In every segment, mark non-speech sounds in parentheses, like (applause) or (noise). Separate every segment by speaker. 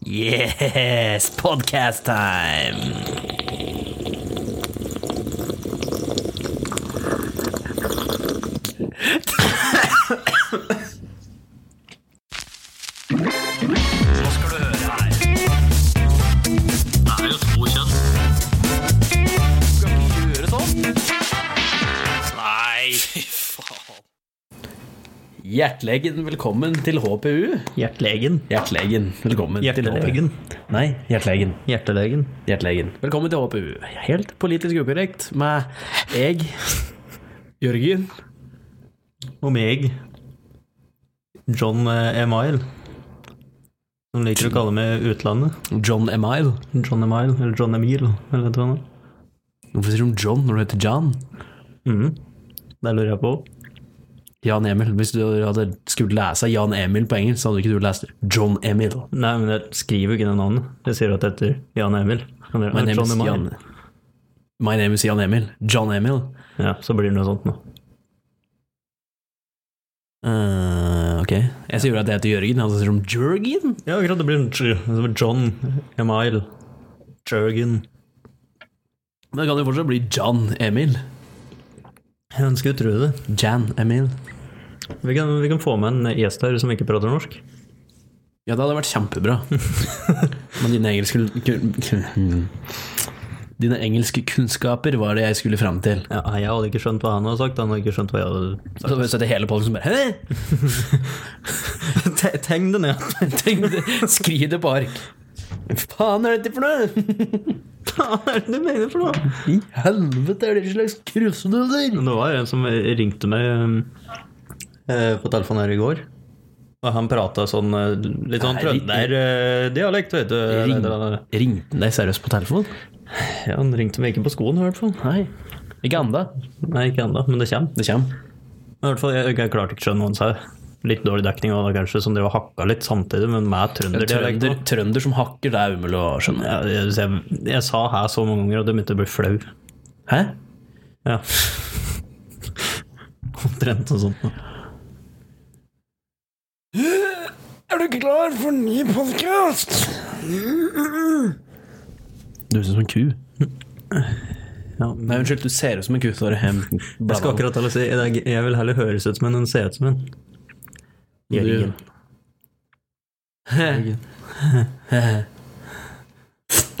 Speaker 1: Yes, podcast time!
Speaker 2: Nei, fy faen.
Speaker 3: Hjertelegen, velkommen til HPU.
Speaker 1: Hjertelegen.
Speaker 3: Hjertelegen, velkommen
Speaker 1: Hjertelegen.
Speaker 3: til HPU. Nei, Hjertelegen.
Speaker 1: Hjertelegen.
Speaker 3: Hjertelegen. Velkommen til HPU. Helt politisk ukorrekt med jeg, Jørgen.
Speaker 1: Og meg, John eh, Emile. Som liker å kalle meg utlandet.
Speaker 3: John Emile.
Speaker 1: John Emile, eller John Emil, eller vet du hva det er.
Speaker 3: Hvorfor sier du John når du heter John?
Speaker 1: Mhm. Det lurer jeg på.
Speaker 3: Jan Emil. Hvis du hadde skulle lese Jan Emil på engelsk, så hadde ikke du lest John Emil.
Speaker 1: Nei, men jeg skriver jo ikke det navnet. Jeg sier at det heter Jan Emil. Kan dere-
Speaker 3: My name
Speaker 1: John
Speaker 3: is
Speaker 1: Emile.
Speaker 3: Jan. My name is Jan Emil. John Emil.
Speaker 1: Ja, så blir det noe sånt nå.
Speaker 3: Eh, ok. Jeg sier jo at jeg heter Jørgen, han sier som Jørgen.
Speaker 1: Ja, akkurat det blir en J- altså John Emile. Jørgen.
Speaker 3: Men det kan jo fortsatt bli John Emil.
Speaker 1: Jeg ønsker å tro det.
Speaker 3: Jan Emil.
Speaker 1: Vi kan, vi kan få med en gjest her som ikke prater norsk.
Speaker 3: Ja, det hadde vært (laughs) kjempebra. Men dine engelske kun- kun- hmm. Dine engelske kunnskaper var det jeg skulle fram til.
Speaker 1: Ja, jeg hadde ikke skjønt hva han hadde sagt. Han hadde ikke skjønt hva jeg hadde
Speaker 3: Så hadde vi sett hele podden som bare Hæ?
Speaker 1: Te- (laughs) Tegn det ned.
Speaker 3: Tenk det, (laughs) Skriv det på ark. Hva faen er dette for noe?
Speaker 1: Hva er det du mener for noe?
Speaker 3: (laughs) I helvete er det slags krusseduller?
Speaker 1: Men Det var en som ringte meg eh, på telefonen her i går. Og han prata sånn eh, litt sånn
Speaker 3: Nei,
Speaker 1: trønderdialekt, eh, vet du.
Speaker 3: Ring-
Speaker 1: Eller-
Speaker 3: Ringte han deg seriøst på telefon?
Speaker 1: Ja, han ringte meg ikke på skolen, i hvert fall.
Speaker 3: Nei. Ikke anda.
Speaker 1: Nei, ikke ennå, men det kommer.
Speaker 3: Det kommer.
Speaker 1: Men i hvert fall, jeg, jeg klarte ikke å skjønne hva han sa. Litt dårlig dekning var det kanskje, som drev og hakka litt samtidig, men med trønderdialekt.
Speaker 3: Trønder, trønder som hakker, det er umulig å skjønne.
Speaker 1: Ja, jeg, jeg, jeg sa her så mange ganger at jeg begynte å bli flau.
Speaker 3: Hæ?
Speaker 1: Ja. (laughs) Omtrent noe sånt. nå.
Speaker 3: Er du klar for ny podkast? Du ser ut som en ku.
Speaker 1: Ja,
Speaker 3: Nei, unnskyld, du ser ut som en ku. Sorry. (laughs) Jeg
Speaker 1: Jeg skal akkurat til å si jeg- Jeg vil heller høres ut som en enn se ut som en. Jørgen.
Speaker 3: Jørgen. (laughs)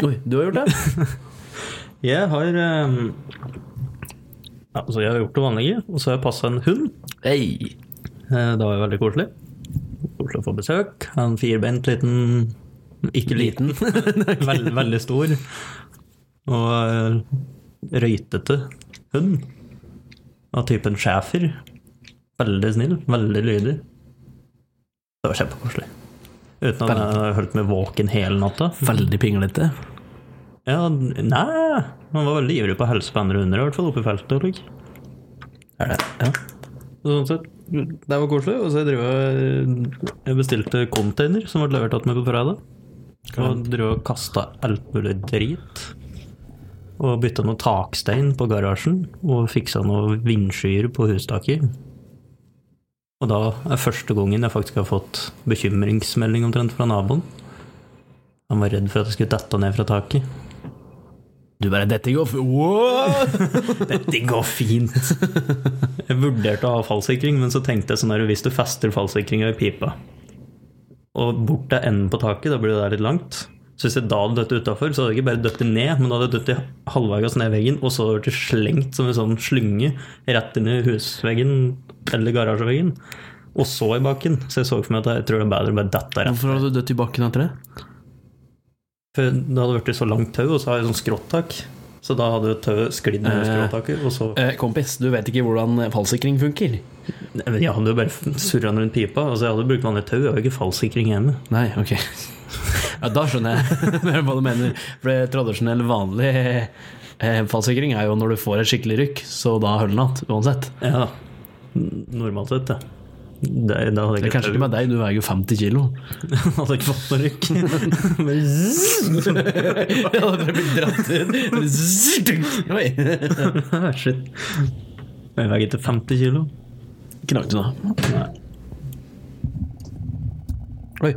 Speaker 3: Oi, du har gjort det?
Speaker 1: Jeg har ehm, ja, altså Jeg har gjort det vanlige, og så har jeg passa en hund.
Speaker 3: Hei.
Speaker 1: Eh, Det var jo veldig koselig. Koselig å få besøk. En firbeint liten Ikke liten, (laughs) Veld, veldig stor. Og eh, røytete hund. Av typen schæfer. Veldig snill, veldig lydig. Det var kjempekoselig. Uten at jeg har holdt meg våken hele natta.
Speaker 3: Veldig pinglete.
Speaker 1: Ja, nei Han var veldig ivrig på å helse på andre hunder, i hvert fall oppe i feltet. Like.
Speaker 3: Er det? Ja.
Speaker 1: Sånn sett, det var koselig. Og så jeg, driver, jeg bestilte container som ble levert til meg på fredag. Og drev og kasta alt mulig drit. Og bytta noe takstein på garasjen. Og fiksa noe vindskyer på hustaket. Og da er første gangen jeg faktisk har fått bekymringsmelding omtrent fra naboen. Han var redd for at jeg skulle dette ned fra taket.
Speaker 3: Du bare Dette går f... Wow!
Speaker 1: Dette går fint. Jeg vurderte å ha fallsikring, men så tenkte jeg sånn her, hvis du fester fallsikringa i pipa og bort til enden på taket, da blir det der litt langt. Så hvis jeg da hadde dødd utafor, så hadde jeg ikke bare dødd ned, men da hadde jeg dødd halvveis ned veggen, og så hadde jeg blitt slengt som en sånn slynge rett inn i husveggen eller garasjeveggen. Og så i bakken. Så jeg så for meg at jeg tror det er bedre å bare dette
Speaker 3: (laughs)
Speaker 1: rett.
Speaker 3: Hvorfor har du dødd i bakken etter det?
Speaker 1: For det hadde blitt så langt tau, og så har jeg sånn skråttak. Så da hadde jo tauet sklidd ned
Speaker 3: Eh.
Speaker 1: skråttaket, og så
Speaker 3: Eh, kompis, du vet ikke hvordan eh, fallsikring funker?
Speaker 1: Nei, men Jeg hadde jo bare surra den rundt pipa. Altså, jeg hadde brukt vanlig tau. Jeg har jo ikke fallsikring hjemme.
Speaker 3: Nei, ok. (laughs) Ja, da skjønner jeg (laughs) mer hva du mener. For det tradisjonell, vanlig eh, fallsikring er jo når du får et skikkelig rykk, så da holder den att uansett.
Speaker 1: Ja, N- Normalt sett, det. det da
Speaker 3: Det
Speaker 1: hadde jeg
Speaker 3: er kanskje ikke
Speaker 1: ikke tau.
Speaker 3: med deg, du veier jo 50 kilo.
Speaker 1: (laughs) Hadde ikke fått noe rykk. (laughs) Bare (laughs) zzz.
Speaker 3: Ja, da hadde
Speaker 1: (laughs)
Speaker 3: jeg blitt dratt ut. Zzzting. Oi.
Speaker 1: Shit. Jeg veier ikke 50 kilo.
Speaker 3: Knakk du nå?
Speaker 1: Nei.
Speaker 3: Oi.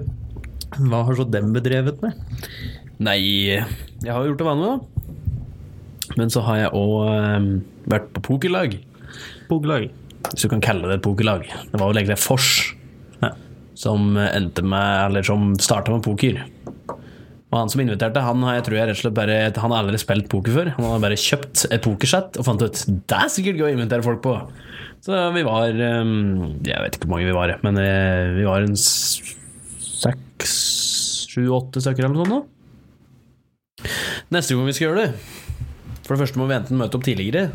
Speaker 1: Hva har så dem bedrevet med?
Speaker 3: Nei, jeg har jo gjort det vanlige, da. Men så har jeg òg vært på pokerlag.
Speaker 1: Boglag.
Speaker 3: Hvis du kan kalle det et pokerlag. Det var vel egentlig Fors
Speaker 1: Ja.
Speaker 3: som endte med Eller som starta med poker. Og han som inviterte, han har jeg tror jeg rett og slett bare Han har aldri spilt poker før. Han hadde bare kjøpt et pokersett og fant ut det er sikkert gøy å invitere folk på. Så vi var ehm, Jeg vet ikke hvor mange vi var, men eh, vi var en s- seks, sju, åtte stykker eller noe sånt. nå. Neste gang vi skal gjøre det For det første må vi enten møte opp tidligere,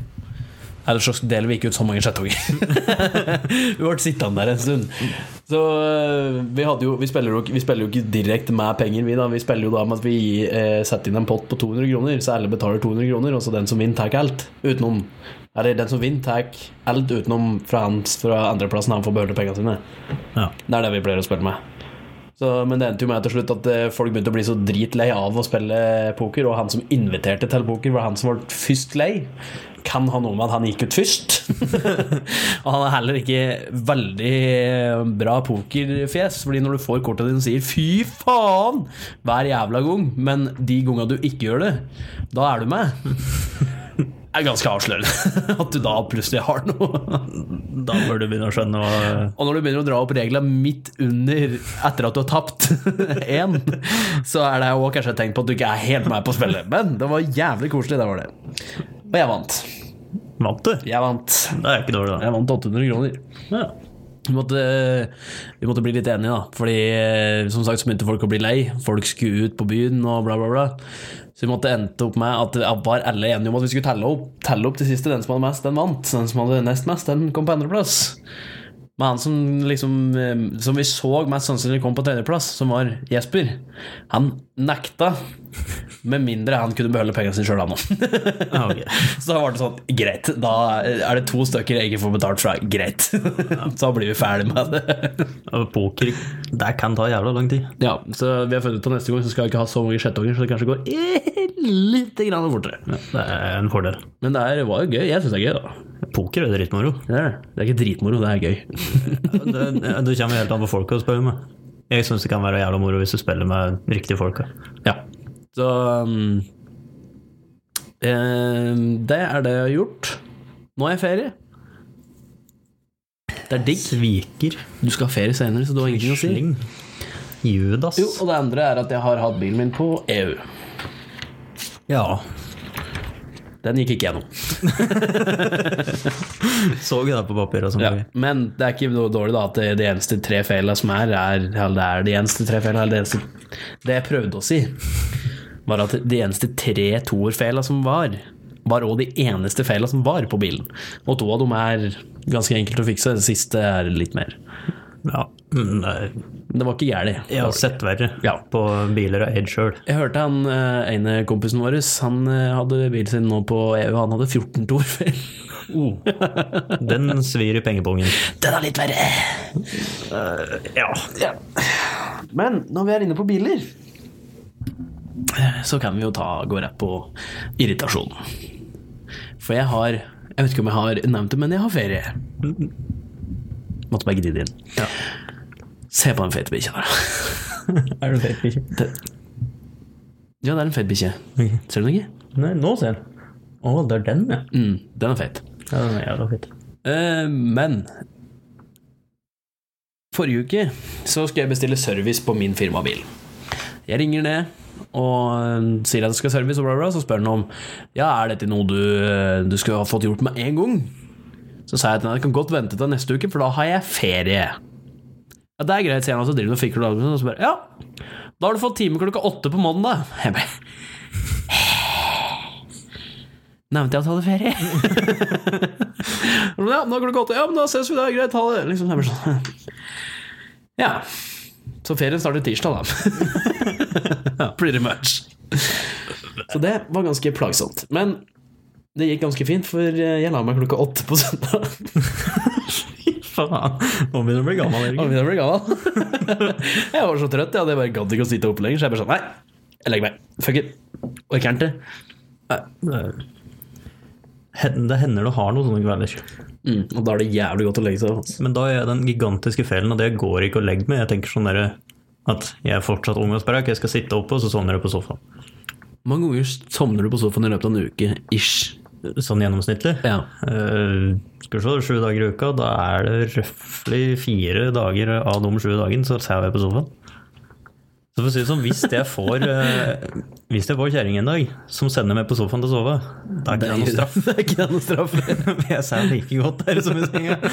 Speaker 3: eller så deler vi ikke ut så mange chattonger. Vi ble sittende der en stund. Så øh, vi, hadde jo, vi, spiller jo, ikke- vi spiller jo ikke direkte med penger, vi da. Vi spiller jo da med at vi eh, setter inn en pott på 200 kroner, så alle betaler 200 kroner, og så den som vinner, tar alt utenom. Eller den som vinner, tar alt utenom fra, hans, fra andreplassen han får beholde pengene sine.
Speaker 1: Ja.
Speaker 3: Det er det vi pleier å spille med. Så, men det endte jo med til slutt at eh, folk begynte å bli så dritlei av å spille poker, og han som inviterte til poker, var han som var først lei. Kan ha noe med at han gikk ut først. og han er heller ikke veldig eh, bra pokerfjes, fordi når du får kortet dine, sier 'fy faen' hver jævla gang, men de gangene du ikke gjør det, da er du med. Det er ganske avslørende (laughs) at du da plutselig har noe.
Speaker 1: Da bør du begynne å skjønne hva
Speaker 3: Og når du begynner å dra opp reglene midt under etter at du har tapt (laughs) én, så er det òg kanskje et tegn på at du ikke er helt med på spillet. Men det var jævlig koselig, det var det. Og jeg vant.
Speaker 1: Vant du?
Speaker 3: Jeg vant.
Speaker 1: Det er ikke dårlig,
Speaker 3: Jeg vant 800 kroner.
Speaker 1: da. Ja.
Speaker 3: Vi måtte, vi måtte bli litt enige, da. Fordi eh, som sagt så begynte folk å bli lei. Folk skulle ut på byen og bla, bla, bla. Så vi måtte endte opp med at ja, var alle enige om at vi skulle telle opp, telle opp til siste. Den som hadde mest, den vant. Den som hadde nest mest, den kom på andreplass. Men han som, liksom, eh, som vi så mest sannsynlig kom på tredjeplass, som var Jesper, han nekta. Med mindre han kunne beholde pengene sine sjøl, han (laughs) òg.
Speaker 1: Ja, ok.
Speaker 3: (laughs) Så da var det sånn, greit, da er det to stykker jeg ikke får betalt fra, greit. (laughs) Så da blir vi ferdig med det.
Speaker 1: Og Poker det kan ta jævla lang tid.
Speaker 3: (laughs) Ja, så vi har funnet ut at neste gang så skal jeg ikke ha så mange sjettonger, så det kanskje går (laughs) eh, litt grann fortere.
Speaker 1: Det er en fordel.
Speaker 3: Men det er, var jo gøy, jeg synes det er gøy da.
Speaker 1: Poker er dritmoro.
Speaker 3: Det er, det. det er ikke dritmoro, det er (laughs) gøy.
Speaker 1: Det, det kommer helt an på folka å spille med. Jeg syns det kan være jævla moro hvis du spiller med riktige folka.
Speaker 3: Ja, så um, eh, det er det jeg har gjort. Nå er jeg ferie. Det er digg.
Speaker 1: Sviker.
Speaker 3: Du skal ha ferie senere, så du har ingenting å si.
Speaker 1: Sling. Judas.
Speaker 3: Jo, og det andre er at jeg har hatt bilen min på E EU.
Speaker 1: Ja.
Speaker 3: Den gikk ikke gjennom.
Speaker 1: Så jo det på papiret. som
Speaker 3: Ja.
Speaker 1: vi-
Speaker 3: Men det er ikke noe dårlig da at det, det eneste tre feilene som er, er eller det er de eneste tre feilene, eller det eneste Det jeg prøvde å si, var at de eneste tre toerfeilene som var, var òg de eneste feilene som var på bilen. Og to av dem er ganske enkelt å fikse, det siste er litt mer.
Speaker 1: ja. Mm, nei,
Speaker 3: Men det var ikke gærent.
Speaker 1: Jeg har sett verre
Speaker 3: Ja.
Speaker 1: på biler av Ed sjøl.
Speaker 3: Jeg hørte han eh, ene kompisen vår, han eh, hadde bilen sin nå på EU, han hadde 14 toerfeil.
Speaker 1: Oh. (laughs) Den svir i pengepungen.
Speaker 3: Den er litt verre.
Speaker 1: Ja.
Speaker 3: Ja. Men når vi er inne på biler Så kan vi jo ta, gå rett på irritasjon. For jeg har Jeg vet ikke om jeg har nevnt det, men jeg har ferie. Måtte bare gni det inn.
Speaker 1: Ja.
Speaker 3: Se på den fete bikkja der.
Speaker 1: (laughs) Er du feit bikkje?
Speaker 3: Ja, det er en fet bikkje.
Speaker 1: Ok.
Speaker 3: Ser du den ikke?
Speaker 1: Nei, nå ser jeg den. Å, det er den, ja.
Speaker 3: Mm, den er fet.
Speaker 1: ja den er jævla (laughs) fett.
Speaker 3: Eh, men Forrige uke så skal jeg bestille service på min firmabil. Jeg ringer ned og eh, sier at jeg skal ha service, og bla, bla, bla, så spør han om Ja, er dette noe du, eh, du skulle ha fått gjort med en gang. Så sa jeg at jeg kan godt vente til neste uke, for da har jeg ferie. Ja, det er greit, sier han, og så driver han og fikler det, og så spør jeg, Ja, da har du fått time klokka åtte på mandag. Jeg bare (laughs) Nevnte jeg at jeg hadde ferie? Ja, men nå er klokka åtte. Ja, men da ses vi da. Greit, ha det. Liksom, det er bare sånn. Ja. Så ferien starter tirsdag, da. (laughs) ja, pretty much. Så det var ganske plagsomt. Men det gikk ganske fint, for jeg la meg klokka åtte på (laughs) søndag.
Speaker 1: Faen. Nå begynner du å bli gammel,
Speaker 3: Jeg
Speaker 1: Jørgen.
Speaker 3: begynner å bli gammel. (laughs) Jeg var så trøtt, jeg hadde bare gadd ikke å sitte oppe lenger, så jeg bare sånn Nei, jeg legger meg. Fuck it. Orker ikke.
Speaker 1: Hen- Det hender du har noen sånne kvelder.
Speaker 3: Mm, og da er det jævlig godt å legge seg. altså.
Speaker 1: Men da er jeg den gigantiske feilen, og det går ikke å legge med. Jeg tenker sånn derre At jeg er fortsatt ung og sprek, jeg skal sitte oppe, og så sovner jeg på sofaen.
Speaker 3: Mange ganger sovner du på sofaen i løpet av en uke, ish.
Speaker 1: Sånn gjennomsnittlig.
Speaker 3: Ja.
Speaker 1: Eh, skal vi se, sju dager i uka, da er det røftlig fire dager av de sju dagene, så sover jeg på sofaen. Så for å si det sånn, hvis jeg får, eh, hvis jeg får kjerring en dag som sender meg på sofaen til å sove, da er ikke det noe straff.
Speaker 3: (laughs) Det er ikke det noe straff.
Speaker 1: (laughs) Jeg sover like godt der som i senga. (laughs)
Speaker 3: (laughs)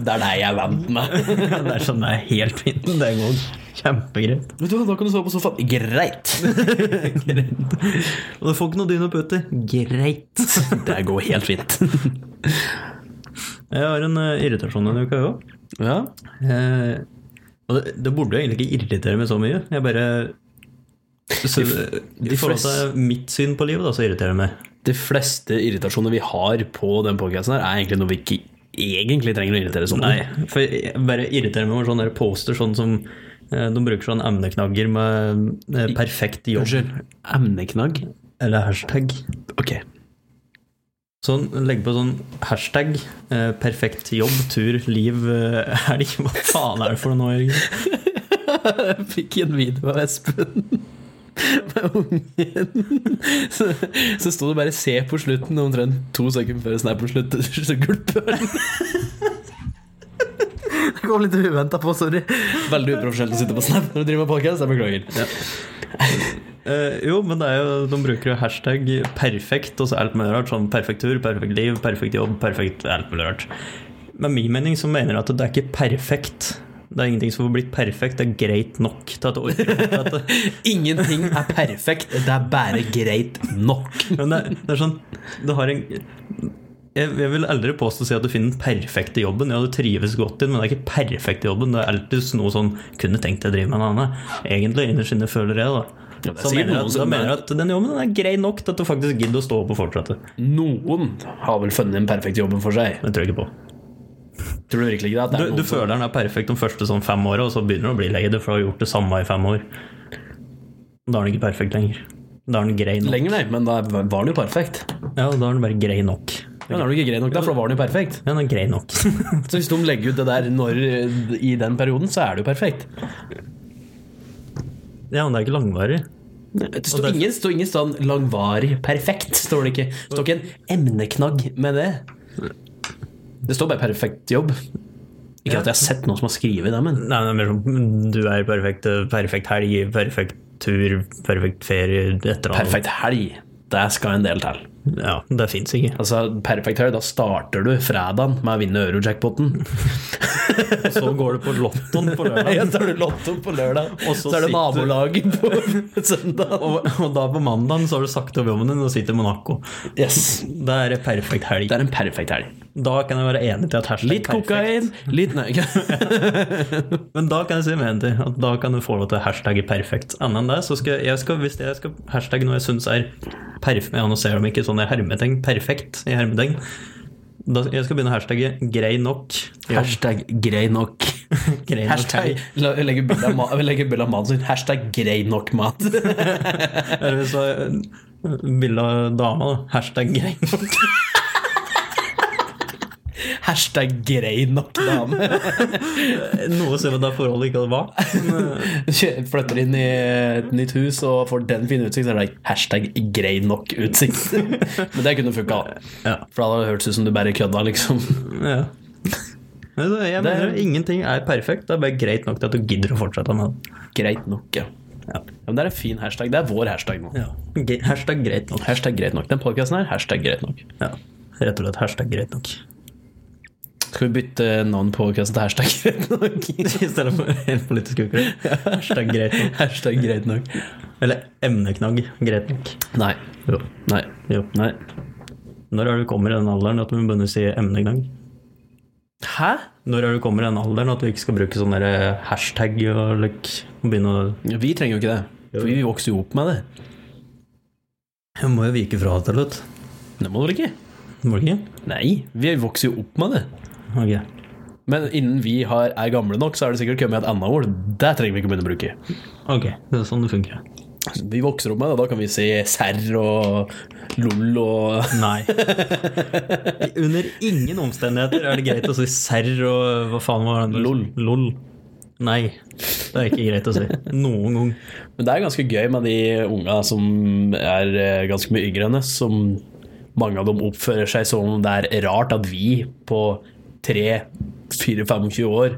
Speaker 3: Det er deg jeg vant meg.
Speaker 1: Det er sånn det er helt fint. Det går kjempegreit.
Speaker 3: Vet du hva, da kan du sove på sofaen. Greit.
Speaker 1: Og du får ikke noe dyne og pute. Greit.
Speaker 3: Det går helt fint.
Speaker 1: Jeg har en eh, irritasjon denne uka òg.
Speaker 3: Ja.
Speaker 1: Eh, og det, det burde jo egentlig ikke irritere meg så mye. Jeg bare så, I forhold til mitt syn på livet, da, så irriterer det meg.
Speaker 3: De fleste irritasjoner vi har på den podcasten her, er egentlig noe vi ikke egentlig trenger å irritere sånn.
Speaker 1: Nei, for jeg bare irriterer meg over sånne der poster sånn som eh, de bruker sånne emneknagger med eh, 'perfekt jobb'
Speaker 3: Unnskyld. Emneknagg?
Speaker 1: eller hashtag.
Speaker 3: Ok.
Speaker 1: Sånn, Legg på sånn hashtag eh, 'perfekt jobb, tur, liv, eh, helg'. (laughs) Hva faen er det for noe nå, Jørgen?
Speaker 3: Jeg fikk en video av Espen med ungen. Så, så sto det bare 'se på slutten' og omtrent to sekunder før snappen slutter, så gulper han.
Speaker 1: Det kom litt uventa på, sorry.
Speaker 3: Veldig uprofesjonelt å sitte på snap når du driver med podcast, jeg beklager.
Speaker 1: Eh, jo, men det er jo, de bruker jo hashtag 'perfekt' og så alt mulig rart. Sånn perfekt tur, perfekt liv, perfekt jobb, perfekt alt mulig rart. Men min mening så mener jeg at det er ikke perfekt. Det er ingenting som får blitt perfekt. Det er greit nok til at du orker å fortsette.
Speaker 3: Ingenting er perfekt, det er bare greit nok.
Speaker 1: Men det, er- det er sånn Du har en jeg, jeg vil aldri påstå å si at du finner den perfekte jobben. Ja, du trives godt i den, men det er ikke perfekt i jobben. Det er alltid noe sånn Kunne tenkt deg å drive med en annen. Egentlig, innerst inne føler jeg, da.
Speaker 3: Ja, det er
Speaker 1: så
Speaker 3: sikkert
Speaker 1: mener jeg
Speaker 3: noen
Speaker 1: at,
Speaker 3: som-
Speaker 1: da mener jeg at den jobben den er grei nok til at du faktisk gidder å stå opp og fortsette.
Speaker 3: Noen har vel funnet den perfekte jobben for seg.
Speaker 1: Det tror jeg ikke på.
Speaker 3: Tror du virkelig ikke det? At
Speaker 1: Du,
Speaker 3: det er noen
Speaker 1: du
Speaker 3: som-
Speaker 1: føler den er perfekt de første sånn fem åra, og så begynner du å bli lei deg, for du har gjort det samme i fem år. Da er den ikke perfekt lenger. Da er den grei nok.
Speaker 3: Lenger, nei, men da var den jo perfekt.
Speaker 1: Ja, da er den bare grei nok.
Speaker 3: Men da er du ikke grei nok, da, for da var den jo perfekt.
Speaker 1: Ja, den er grei
Speaker 3: (laughs)
Speaker 1: nok.
Speaker 3: Så hvis de legger ut det der når, i den perioden, så er det jo perfekt.
Speaker 1: ja, men det er ikke langvarig.
Speaker 3: Det står ingen, står ingen sånn langvarig perfekt, står det ikke. Det står ikke en emneknagg med det. Det står bare perfekt jobb. Ikke at jeg har sett noen som har skrevet det, men
Speaker 1: Nei, det er mer sånn Du er perfekt, perfekt helg, perfekt tur, perfekt ferie, et eller annet.
Speaker 3: perfekt helg, det skal en del til.
Speaker 1: Ja, det fins ikke.
Speaker 3: Altså, perfekt helg, da starter du fredagen med å vinne Eurojackpoten.
Speaker 1: Og så går du på lottoen (laughs) på lørdag.
Speaker 3: (laughs) Ja, så har du Lotto på lørdag,
Speaker 1: Og
Speaker 3: så
Speaker 1: så
Speaker 3: er det
Speaker 1: sitter-
Speaker 3: nabolaget på søndag.
Speaker 1: Og, og da på mandagen så har du sagt opp jobben din og sitter i Monaco.
Speaker 3: Yes.
Speaker 1: Da er det perfekt helg.
Speaker 3: Det er en perfekt helg.
Speaker 1: Da kan jeg være enig til at hashtag
Speaker 3: Litt
Speaker 1: perfekt-
Speaker 3: kokain, litt Nei.
Speaker 1: Men da kan jeg si meg enig til at da kan du få lov til hashtagget perfekt. Annet enn det, så skal jeg skal, hvis jeg skal hashtagge noe jeg syns er perfekt Jeg annonserer dem ikke sånn i hermetegn perfekt i hermetegn. Da, jeg skal begynne å hashtagge grei nok.
Speaker 3: Hashtag grei (laughs) nok.
Speaker 1: Grei nok helg.
Speaker 3: Hashtag la- jeg legger bilde av ma- jeg legger bilde av mannen sin. Hashtag grei nok mat. (laughs)
Speaker 1: Eller så bilde av dama, da. Hashtag grei (laughs) nok.
Speaker 3: Hashtag grei nok
Speaker 1: (laughs)
Speaker 3: dame.
Speaker 1: Noe som da forholdet ikke hadde vært.
Speaker 3: Kjø- Flytter inn i et nytt hus og får den fine utsikt, så er det like, hashtag grei nok utsikt. (laughs) Men det kunne funka,
Speaker 1: Ja.
Speaker 3: for da hadde det hørtes ut som du bare kødda, liksom. (laughs)
Speaker 1: eh, Ja. Men så, Jeg mener ingenting er perfekt. Det er bare greit nok til at du gidder å fortsette med det.
Speaker 3: Greit nok, ja.
Speaker 1: Ja.
Speaker 3: Ja, men det er en fin hashtag. Det er vår hashtag nå.
Speaker 1: Ja. Ge- Hashtag greit nok.
Speaker 3: Hashtag greit nok. Den podkasten her, hashtag greit nok.
Speaker 1: Ja. Rett og slett hashtag greit nok.
Speaker 3: Skal vi bytte navn på podkasten til hashtag (laughs) greit nok?
Speaker 1: (laughs) I stedet for helt politisk ukorrekt. Hashtag (laughs) greit nok.
Speaker 3: hashtag greit nok.
Speaker 1: Eller emneknagg greit nok.
Speaker 3: Nei.
Speaker 1: Jo.
Speaker 3: Nei.
Speaker 1: jo.
Speaker 3: Nei.
Speaker 1: Når er du kommer i den alderen at du begynner å si emneknagg?
Speaker 3: Hæ?
Speaker 1: Når er du kommer i den alderen at du ikke skal bruke sånn derre hashtag og like, og begynne å
Speaker 3: Vi trenger jo ikke det. For vi vokste jo opp med det.
Speaker 1: Jeg må jo vike fra til slutt.
Speaker 3: Det må du vel ikke?
Speaker 1: Må du ikke?
Speaker 3: Nei, vi vokser jo opp med det.
Speaker 1: Ok.
Speaker 3: Men innen vi har, er gamle nok, så er det sikkert kommet et annet ord. Det trenger vi ikke begynne å bruke.
Speaker 1: Ok, Det er sånn det funker.
Speaker 3: Vi vokser opp med det, da kan vi si serr og lol og (laughs)
Speaker 1: Nei. Under ingen omstendigheter er det greit å si serr og hva faen var det?
Speaker 3: Lol.
Speaker 1: Lol. Nei.
Speaker 4: Det er ikke greit å si.
Speaker 1: Noen gang.
Speaker 3: Men det er ganske gøy med de unga som er eh, ganske mye yngre enn oss, som mange av dem oppfører seg som om det er rart at vi på 3-4-25 år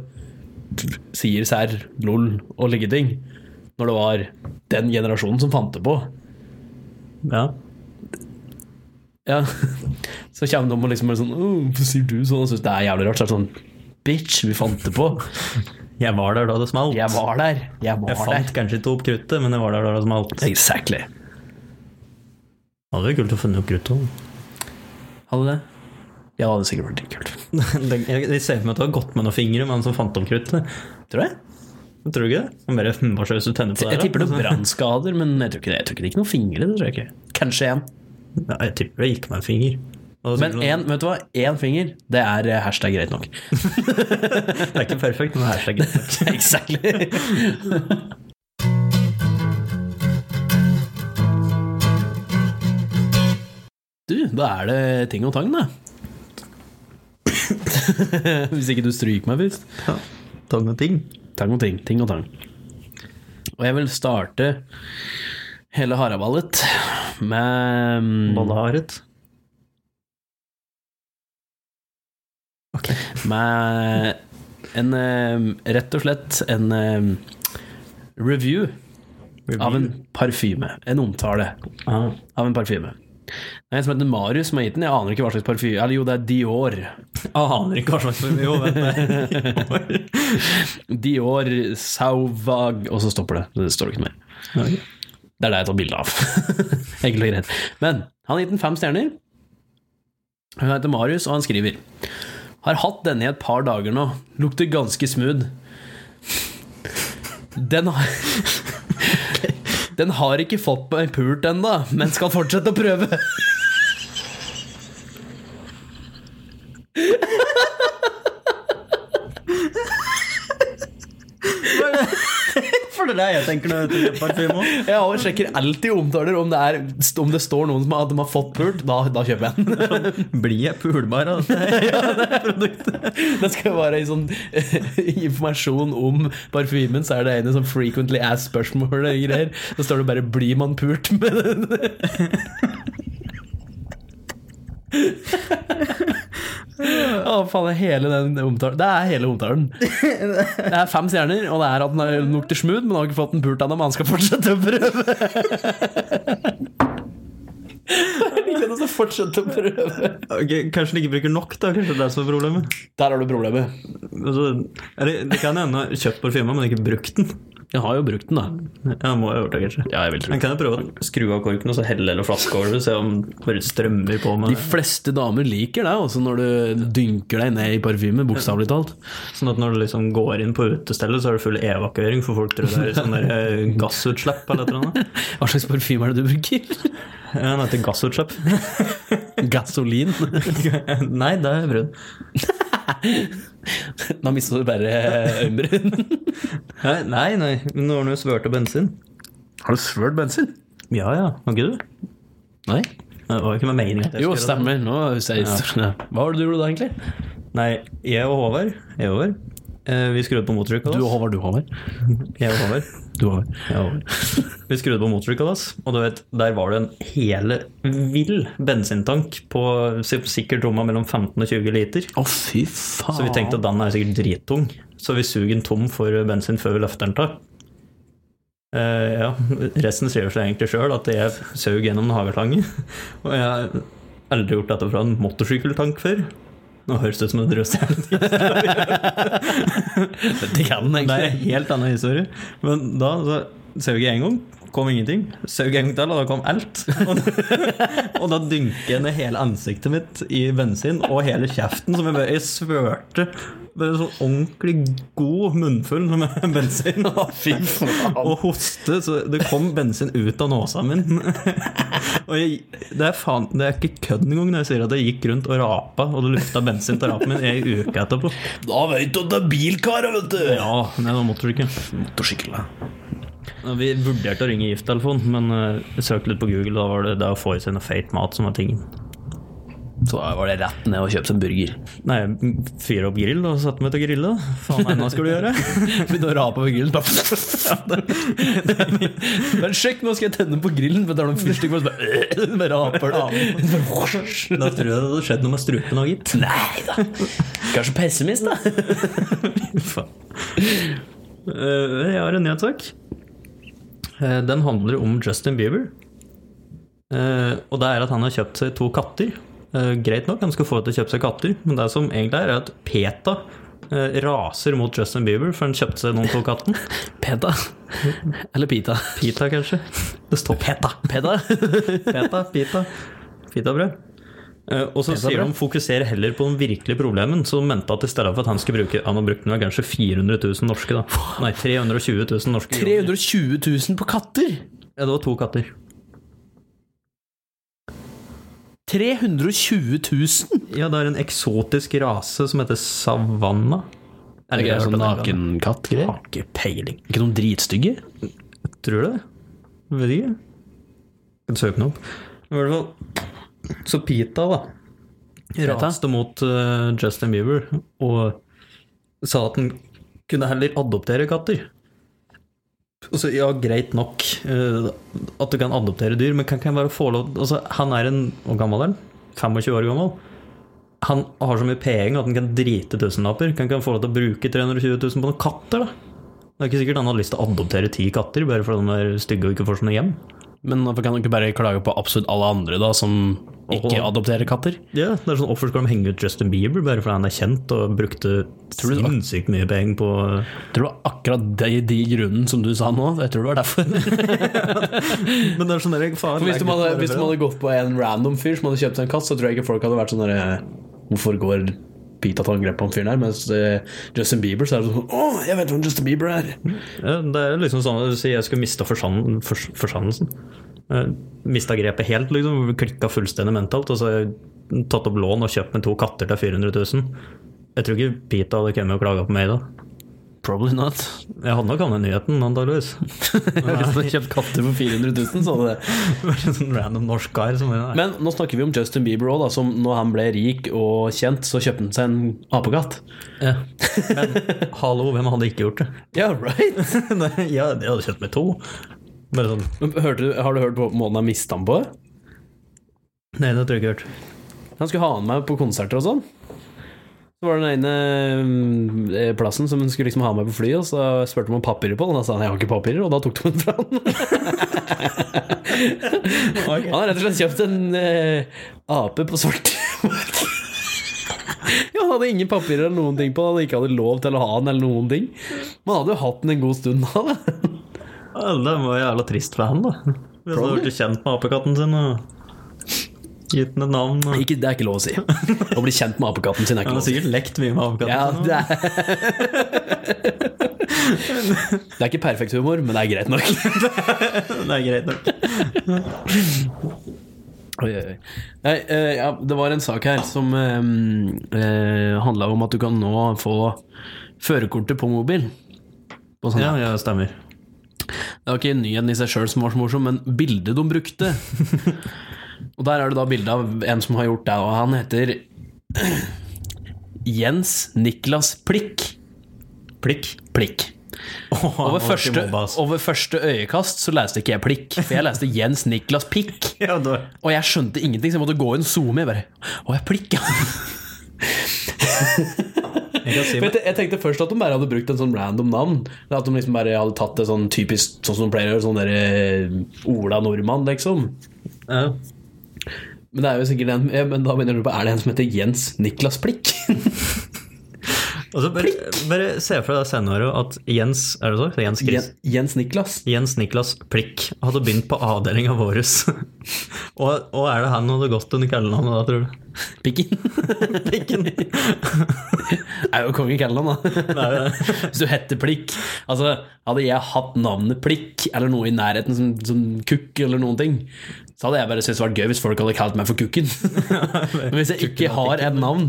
Speaker 3: sier serr, lol og like ting, når det var den generasjonen som fant det på.
Speaker 1: Ja.
Speaker 3: Ja. (laughs) Så kommer de og liksom er sånn «Åh, Hvorfor sier du sånn? Og syns det er jævlig rart. Så er det sånn Bitch, vi fant det på.
Speaker 1: Jeg var der da det smalt.
Speaker 3: Jeg var der. Jeg
Speaker 1: Jeg
Speaker 3: var
Speaker 1: fant
Speaker 3: der.
Speaker 1: kanskje ikke opp kruttet, men jeg var der da det smalt. Det
Speaker 3: Exactly.
Speaker 1: hadde vært kult å finne opp kruttet. da.
Speaker 3: Hadde det? Ja, det hadde sikkert vært litt kult.
Speaker 1: (laughs) Det- Jeg jeg ser for meg at det har gått med noen fingre med han som fant opp kruttet.
Speaker 3: Tror jeg.
Speaker 1: Tror du ikke det? Han bare hm, Hva skjer hvis du tenner på det?
Speaker 3: Jeg
Speaker 1: her,
Speaker 3: tipper det
Speaker 1: da?
Speaker 3: er brannskader, men jeg tror ikke det. Jeg tror ikke det gikk noen fingre. Det tror jeg ikke. Kanskje én.
Speaker 1: (laughs) Ja, jeg tipper det gikk med en finger. Og det er
Speaker 3: Men
Speaker 1: sikkert noen-
Speaker 3: én, vet du hva? Én finger, det er eh, hashtag greit nok. (laughs)
Speaker 1: Det er ikke perfekt, men det er greit.
Speaker 3: exactly. Du, da er det ting og tang, da. (laughs) Hvis ikke du stryker meg først. (laughs)
Speaker 1: Tang og ting.
Speaker 3: Tang og ting. Ting og tang. Og jeg vil starte hele haraballet med mm,
Speaker 1: Ballaret.
Speaker 3: med en eh, Rett og slett en eh, review av en parfyme. En omtale
Speaker 1: Ah.
Speaker 3: av en parfyme. Det er en som heter Marius som har gitt den. Jeg aner ikke hva slags parfyme Eller jo, det er Dior. (laughs)
Speaker 1: Aner ikke hva slags Jo, vent (laughs) det.
Speaker 3: Dior Sauvag Og så stopper det. Det står ikke noe mer. Det er det jeg tar bilde av. (laughs) Enkelt og greit. Men han har gitt den fem stjerner. Hun heter Marius, og han skriver Har hatt denne i et par dager nå. Lukter ganske smooth. Den har (laughs) Den har ikke fått meg pult ennå, men skal fortsette å prøve.
Speaker 1: (laughs) For det er det jeg tenker når jeg tenker parfyme òg.
Speaker 3: Jeg også sjekker alltid omtaler om det, er, om det står noen som har, at de har fått pult. Da, da kjøper jeg den.
Speaker 1: (laughs) Blir jeg pulbar av dette?
Speaker 3: Det skal være i sånn eh, informasjon om parfymen, så er det ene som frequently asked spørsmål og greier. Så står det bare 'blir man pult med den?' Å, faen, det er hele den omtalen. Det er hele omtalen. Det er fem stjerner, og det er at den er- lukter smooth, men han har ikke fått den pult ennå, men han skal fortsette å prøve. Jeg liker at han fortsetter å prøve.
Speaker 1: Ok, Kanskje den ikke bruker nok, da. Kanskje det er det som er problemet.
Speaker 3: Der har du problemet.
Speaker 1: Altså, eller, det kan hende jeg har kjøpt parfyme, men ikke brukt den.
Speaker 3: Jeg har jo brukt den, da.
Speaker 1: Ja, må jeg overta, kanskje.
Speaker 3: Ja, jeg vil tro
Speaker 1: Men kan jeg prøve å skru av korken og så helle eller flaske over det, se om det bare strømmer på
Speaker 3: De
Speaker 1: med
Speaker 3: fleste damer liker deg også når du dynker deg ned i parfyme, bokstavelig talt.
Speaker 1: Sånn at når du liksom går inn på utestellet, så er det full evakuering, for folk tror det er sånn der eh, gassutslipp eller et eller annet.
Speaker 3: (laughs) Hva slags parfyme er det du bruker?
Speaker 1: Ja, Den heter gassutslipp.
Speaker 3: (laughs) Gasolin?
Speaker 1: (laughs) Nei, det er brun.
Speaker 3: Da mister du bare øyenbryn.
Speaker 1: Nei, nei, nei. men nå har den jo svørt av bensin.
Speaker 3: Har du svørt bensin?
Speaker 1: Ja ja, har ikke du?
Speaker 3: Nei.
Speaker 1: Det var jo ikke med meningen. at jeg
Speaker 3: Jo,
Speaker 1: skulle gjøre
Speaker 3: stemmer. Nå sier jeg historien. Hva var det du gjorde da, egentlig?
Speaker 1: det. Nei, jeg og Håvard, jeg og Håvard eh, vi skrudde på
Speaker 3: Du og
Speaker 1: motordrykkalas.
Speaker 3: Håvard, du Håvard.
Speaker 1: Jeg og Håvard.
Speaker 3: Du Håvard.
Speaker 1: Jeg og Håvard. (laughs) Vi skrudde på motordrykkalas, og du vet, der var det en hele vill bensintank på sikkert rommet mellom 15 og 20 liter.
Speaker 3: Å, fy faen.
Speaker 1: Så vi tenkte at den er sikkert drittung, så vi suger den tom for bensin før vi løfter den til. Eh, ja, resten skriver seg egentlig sjøl, at jeg saug gjennom en hageslange. Og jeg har aldri gjort dette fra en motorsykkeltank før. Nå høres det ut som en rødstjerne.
Speaker 3: Det kan den
Speaker 1: Det er en
Speaker 3: egentlig.
Speaker 1: helt annen historie. Men da så saug jeg en gang, kom ingenting. Saug en gang til, og da kom alt. (laughs) Og da, og da dynker jeg ned hele ansiktet mitt i bensin, og hele kjeften, som jeg bare jeg svørte. Bare sånn ordentlig god munnfull med bensin.
Speaker 3: (laughs) Å, fy faen.
Speaker 1: Og hoste, så det kom bensin ut av nåsa min. (laughs) Og jeg, det, er faen, det er ikke kødd engang når jeg sier at jeg gikk rundt og rapa, og det lukta bensin til rapen min ei uke etterpå.
Speaker 3: Da vet du at det er bilkar, vet du.
Speaker 1: Ja, det var motorsykkel.
Speaker 3: Motorsykkel, da.
Speaker 1: Vi vurderte å ringe gifttelefonen, men eh, jeg søkte litt på Google. Da var det det å få i seg noe feit mat som var tingen.
Speaker 3: Så da var det rett ned og kjøpe seg en burger.
Speaker 1: Nei, fyre opp grill og sette meg til å grille. Faen, hva annet skulle du gjøre?
Speaker 3: (laughs) Begynne å rape over grillen. Bare (laughs) Men sjekk, nå skal jeg tenne på grillen. Men det er noen fyrstikk bare, bare, (laughs) bare raper det. Bare-
Speaker 1: Da tror jeg det hadde skjedd noe med strupen òg, gitt.
Speaker 3: (laughs) Nei da. Kanskje pessimist, da.
Speaker 1: (laughs) Faen. Eh, jeg har en nyhetssak. Eh, den handler om Justin Bieber. Eh, og det er at han har kjøpt seg to katter. Eh, greit nok, han skal få til å kjøpe seg katter, men det som egentlig er, er at PETA eh, raser mot Justin Bieber, for han kjøpte seg noen to katten.
Speaker 3: Peta. Eller pita.
Speaker 1: Pita, kanskje. Det står PETA.
Speaker 3: Peda.
Speaker 1: PETA, PITA. PITA-brød. Eh, og så sier de fokuser heller på den virkelige problemen, så de mente at i stedet for at han skulle bruke Han har brukt den vel kanskje 400 000 norske, da. Nei, 320 000 norske. kroner.
Speaker 3: 320 000 på katter.
Speaker 1: Ja, det var to katter.
Speaker 3: 320 000?
Speaker 1: Ja, det er en eksotisk rase som heter savanna.
Speaker 3: Er det ikke sånn nakenkatt-greier?
Speaker 1: Har ikke peiling.
Speaker 3: Ikke noen dritstygge?
Speaker 1: Tror du det? Vet ikke. Kan søke den opp. I hvert fall Så Pita, da. Raste mot eh, Justin Bieber og sa at han kunne heller adoptere katter. Og så, ja, greit nok eh, at du kan adoptere dyr, men kan ikke han bare få lov altså, Han er en Hvor gammel er han? 25 år gammel? Han har så mye penger at han kan drite tusenlapper. Kan ikke han få lov til å bruke 320 000 på noen katter, da? Det er ikke sikkert han hadde lyst til å adoptere ti katter, bare fordi de er stygge og ikke får sånne hjem.
Speaker 3: Men hvorfor kan du ikke bare klage på absolutt alle andre da, som ikke
Speaker 1: Åh.
Speaker 3: adopterer katter?
Speaker 1: Ja, det er sånn Hvorfor skal de henge ut Justin Bieber bare fordi han er kjent og brukte
Speaker 3: Tror du det-
Speaker 1: sinnssykt mye penger på
Speaker 3: Jeg tror det var akkurat de, de grunnen som du sa nå. Jeg tror det var derfor. (laughs)
Speaker 1: Men det er sånn der, faen,
Speaker 3: Hvis de, hadde, hvis de hadde gått på en random fyr som hadde kjøpt seg en katt, så tror jeg ikke folk hadde vært sånn derre Hvorfor går Pita til angrep på han fyren her? Mens eh, Justin Bieber så er det sånn Å, jeg vet hvem Justin Bieber er!
Speaker 1: ja, Det er liksom sånn at du sier jeg skulle mista forsan- fors- forsannelsen. Mista grepet helt, liksom. Klikka fullstendig mentalt. Og så har jeg tatt opp lån og kjøpt meg to katter til 400 000. Jeg tror ikke Pita hadde kommet og klaga på meg da.
Speaker 3: Probably not.
Speaker 1: Jeg hadde nok havnet i nyheten, antakeligvis.
Speaker 3: (laughs)
Speaker 1: (laughs)
Speaker 3: Hvis du hadde kjøpt katter for 400 000, så hadde det
Speaker 1: Bare en sånn random norsk kar som bare,
Speaker 3: Men nå snakker vi om Justin Bieber òg, som når han ble rik og kjent, så kjøpte han seg en apekatt.
Speaker 1: ja. Men hallo, hvem hadde ikke gjort det?
Speaker 3: Ja, right!
Speaker 1: (laughs) Nei, ja, jeg hadde kjøpt meg to. Bare sånn
Speaker 3: Men hørte du, har du hørt på måten han mista han på?
Speaker 1: Nei, det tror jeg ikke jeg har hørt.
Speaker 3: Han skulle ha han med på konserter og sånn. Så var det den ene eh, plassen som han skulle liksom ha med på flyet, og så spurte de om papirer på den, og da sa han 'jeg har ikke papirer', og da tok de den fra han. (laughs) Han har rett og slett kjøpt en eh, ape på svart marked. Ja, han hadde ingen papirer eller noen ting på den, han ikke hadde lov til å ha den eller noen ting. Man hadde jo hatt den en god stund da. da.
Speaker 1: Ja, Det var jævla trist for han, da. Hvis han
Speaker 3: Probably.
Speaker 1: hadde blitt kjent med apekatten sin og gitt den et navn. Og...
Speaker 3: Ikke, det er ikke lov å (laughs) si. Å bli kjent med apekatten sin er ikke
Speaker 1: Han har
Speaker 3: lov å si.
Speaker 1: sikkert lekt mye med apekatten.
Speaker 3: Ja,
Speaker 1: sin, da.
Speaker 3: det er (laughs) Det er ikke perfekt humor, men det er greit nok.
Speaker 1: det er greit nok.
Speaker 3: Oi, oi, oi. Nei, eh, ja, det var en sak her som eh, eh, handla om at du kan nå få førerkortet på mobil. På sånn.
Speaker 1: Ja, ja, stemmer.
Speaker 3: Det var ikke nyheten i seg sjøl som var så morsom, men bildet de brukte. (laughs) og der er det da bilde av en som har gjort det, og han heter (clears throat) Jens Niklas Plikk.
Speaker 1: Plikk.
Speaker 3: Plikk. Og ved første, og ved første øyekast så leste ikke jeg Plikk, for jeg leste Jens Niklas Pikk.
Speaker 1: (laughs) Ja, da.
Speaker 3: Og jeg skjønte ingenting, så jeg måtte gå inn og zoome. Jeg bare, å, jeg plikka.
Speaker 1: Jeg kan si
Speaker 3: Jeg, te- jeg tenkte først at de bare hadde brukt en sånn random navn. At de liksom bare hadde tatt det sånn typisk sånn som de pleier å gjøre, sånn derre Ola Nordmann, liksom.
Speaker 1: ja.
Speaker 3: Men det er jo sikkert en, ja, men da mener du på, er det en som heter Jens Niklas Plikk? (laughs)
Speaker 1: Og så bare, bare se for deg det senere at Jens Er det så? Jens Christ
Speaker 3: Jens, Jens Niklas?
Speaker 1: Jens Niklas Plikk hadde begynt på avdelinga vår. (laughs) og, og er det han hadde gått under kallenavnet da, tror du? (laughs)
Speaker 3: Pikken? Pikken. er jo konge i Calland, da.
Speaker 1: Det er jo det.
Speaker 3: (laughs) Hvis du heter Plikk Altså, hadde jeg hatt navnet Plikk, eller noe i nærheten som, som Kukk, eller noen ting, så hadde jeg bare syntes det var gøy hvis folk hadde kalt meg for Kukken. (laughs) Men hvis jeg ikke har et navn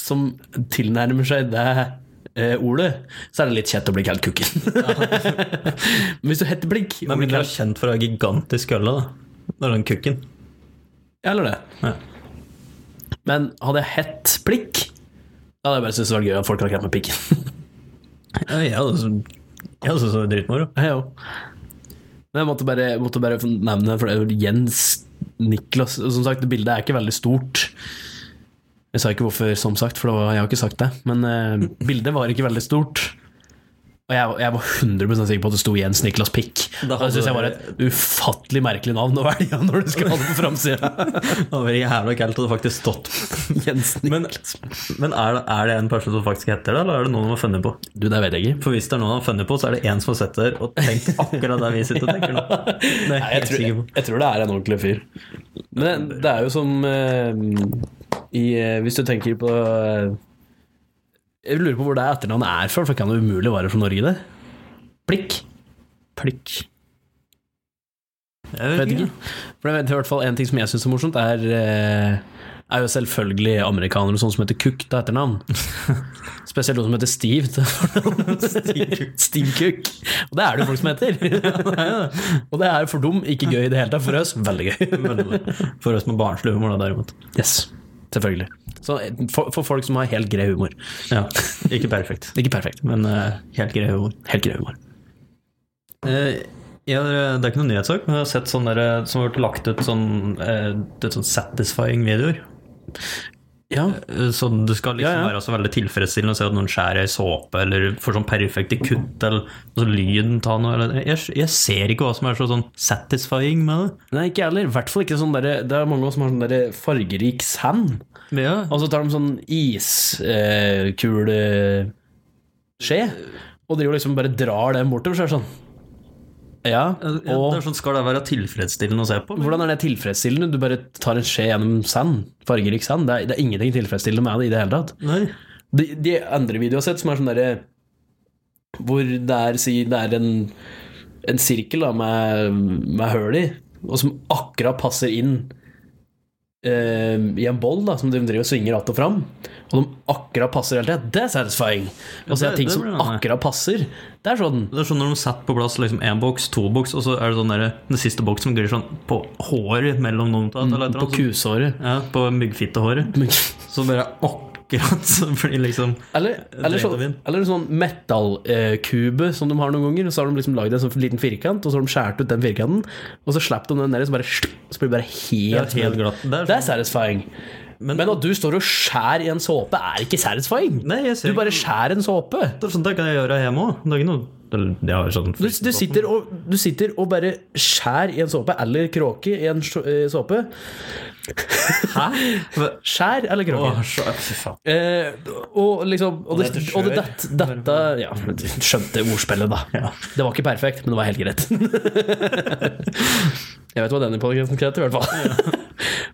Speaker 3: som tilnærmer seg det eh, ordet, så er det litt kjett å bli kalt Kukken. (laughs) Men hvis du heter Plikk og
Speaker 1: Men
Speaker 3: blir
Speaker 1: vi er
Speaker 3: kalt-
Speaker 1: kjent for å ha gigantisk kølle, da. Det er den kukken.
Speaker 3: Ja, eller det.
Speaker 1: Ja.
Speaker 3: Men hadde jeg hett plikk, da hadde jeg bare syntes det var gøy at folk hadde klart med pikken.
Speaker 1: Ja, jeg hadde syntes det var dritmoro.
Speaker 3: Jeg òg. Men jeg måtte bare, måtte bare nevne det, for det er jo Jens Niklas og Som sagt, bildet er ikke veldig stort. Jeg sa ikke hvorfor, som sagt, for det var, jeg har ikke sagt det. Men eh, bildet var ikke veldig stort. Og jeg, jeg var 100 sikker på at det sto Jens Niklas Pikk.
Speaker 1: Da
Speaker 3: Og Det syns jeg var
Speaker 1: hadde-
Speaker 3: et ufattelig merkelig navn å velge når du skal ha det på
Speaker 1: (laughs)
Speaker 3: framsida.
Speaker 1: (laughs) Det hadde vært jævla kaldt hadde faktisk stått (laughs)
Speaker 3: Jens
Speaker 1: Men, men er, det, er det en person som faktisk heter det, eller er det noen de har funnet på?
Speaker 3: Du, det vet jeg ikke.
Speaker 1: For hvis det er noen de har funnet på, så er det en som har sett det her og tenkt akkurat det vi sitter og (laughs) tenker nå. Det er jeg
Speaker 3: Nei, jeg,
Speaker 1: helt
Speaker 3: tror,
Speaker 1: sikker
Speaker 3: jeg,
Speaker 1: på.
Speaker 3: tror det er en ordentlig fyr. Men det, det er jo som eh, i, eh, Hvis du tenker på eh, Jeg lurer på hvor det etternavnet er fra, for det kan jo umulig være fra Norge, det. Plikk. Plikk.
Speaker 1: Jeg
Speaker 3: Vet ikke. For jeg vet i hvert fall En ting som jeg syns er morsomt, er, eh, er jo selvfølgelig amerikanere og sånne som heter Cook til (laughs) etternavn. Spesielt noen som heter Steve. til fornavn. (laughs) Steve Cook. Og det er det jo folk som (laughs) heter. Og det er for dem ikke gøy i det hele tatt. For oss (laughs) veldig gøy.
Speaker 1: Veldig. For oss med barnslig humor, da, derimot.
Speaker 3: Yes, selvfølgelig. Så eh, for, for folk som har helt grei humor.
Speaker 1: Ja, Ikke perfekt,
Speaker 3: Ikke perfekt,
Speaker 1: men eh, helt grei humor.
Speaker 3: helt grei humor.
Speaker 1: Eh, ja, det er ikke noen nyhetssak, men jeg har sett sånne der, eh, som har vært lagt ut sånn, eh, det er sånn satisfying videoer.
Speaker 3: Ja,
Speaker 1: Eh, Sånn, det skal liksom
Speaker 3: Ja, ja.
Speaker 1: være så veldig tilfredsstillende å se at noen skjærer ei såpe, eller får sånn perfekte kutt, eller altså, lyden tar noe eller, jeg, jeg ser ikke hva som er så sånn satisfying med det.
Speaker 3: Nei, ikke jeg heller. I hvert fall ikke sånn derre Det er mange av oss som har sånn derre fargerik sand. Og så tar de sånn iskuleskje eh, skje, og driver liksom bare drar den bortover, så er det sånn. Ja,
Speaker 1: Ja,
Speaker 3: og
Speaker 1: det er sånn, skal det være tilfredsstillende å se på?
Speaker 3: hvordan er det tilfredsstillende? Du bare tar en skje gjennom sand. Fargerik sand. Det er, det er ingenting tilfredsstillende med det i det hele tatt.
Speaker 1: Nei.
Speaker 3: De, de andre videoene jeg har sett, som er sånn derre Hvor det er, si, det er en, en sirkel da, med, med høl i, og som akkurat passer inn eh, i en boll da, som de driver og svinger att og fram. Og de akkurat passer hele tida. Det er satisfying! Og så
Speaker 1: Ja,
Speaker 3: er det
Speaker 1: det-
Speaker 3: ting
Speaker 1: det
Speaker 3: som
Speaker 1: blir det, nei.
Speaker 3: akkurat passer. Det er sånn
Speaker 1: Det er sånn når de setter på plass liksom en boks, to boks, og så er det sånn der, den siste boksen som glir sånn på håret mellom noen av eller et eller
Speaker 3: Mm, på
Speaker 1: annet, så-
Speaker 3: kusåret.
Speaker 1: Ja, på myggfittehåret. Så bare akkurat så blir det liksom
Speaker 3: Eller, eller, sånn,
Speaker 1: Drevin.
Speaker 3: eller en sånn metallkube som de har noen ganger. og Så har de liksom lagd en sånn liten firkant, og så har de skåret ut den firkanten. Og så slipper de den ned, og så, bare, så blir det bare
Speaker 1: Ja,
Speaker 3: helt,
Speaker 1: helt glatt. Det er sånn-
Speaker 3: Det er satisfying. Men, at du står og skjærer i en såpe, er ikke satisfying.
Speaker 1: Nei, jeg ser
Speaker 3: Du bare
Speaker 1: ikke
Speaker 3: skjærer en såpe.
Speaker 1: Det er sånn det kan jeg gjøre hjemme òg. Det er ikke noe eller, jeg har sånn
Speaker 3: Du, du, sitter og, du sitter og bare skjærer i en såpe, eller kråke i en sj- eh, såpe.
Speaker 1: Hæ?
Speaker 3: Skjær eller kråke.
Speaker 1: Åh, så- fy faen.
Speaker 3: Eh, og liksom Og, det,
Speaker 1: Og det heter
Speaker 3: og det,
Speaker 1: skjør.
Speaker 3: dette, dette Ja, du skjønte ordspillet, da. Det var ikke perfekt, men det var helt greit. (laughs) Jeg vet hva denne podkasten heter, i hvert fall.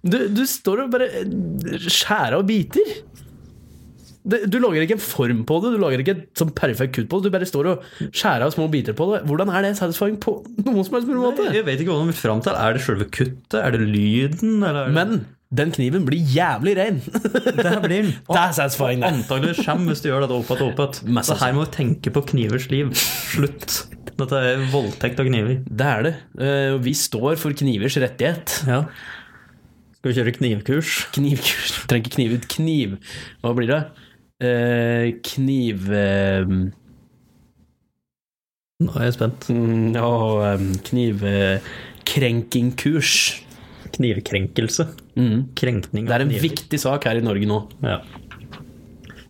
Speaker 3: Du, du står og bare eh, skjærer av biter. Det, du lager ikke en form på det, du lager ikke et sånn perfekt kutt på det. Du bare står og skjærer av små biter på det. Hvordan er det satisfying på noen som helst mulig måte?
Speaker 1: Jeg vet ikke hva de vil fram til. Er det selve kuttet? Er det lyden? Eller er det...
Speaker 3: Men den kniven blir jævlig (laughs) rein.
Speaker 1: der
Speaker 3: (laughs)
Speaker 1: blir den.
Speaker 3: Det er satisfying, det.
Speaker 1: Antagelig skjem hvis du gjør dette opp igjen og opp igjen.
Speaker 3: Mest
Speaker 1: Så her må vi tenke på knivers liv. Slutt. Dette er voldtekt av kniver.
Speaker 3: Det er det. Eh, og Vi står for knivers rettighet.
Speaker 1: Ja. Skal vi kjøre knivkurs?
Speaker 3: Knivkurs. Trenger ikke kniv ut. Kniv. Hva blir det? Eh, kniv... Eh,
Speaker 1: Nå er jeg spent.
Speaker 3: mm, å, em, kniv... Eh, krenkingkurs.
Speaker 1: Knivkrenkelse.
Speaker 3: Mm.
Speaker 1: Krenkning
Speaker 3: Det er
Speaker 1: av
Speaker 3: en
Speaker 1: kniver.
Speaker 3: viktig sak her i Norge nå.
Speaker 1: Ja.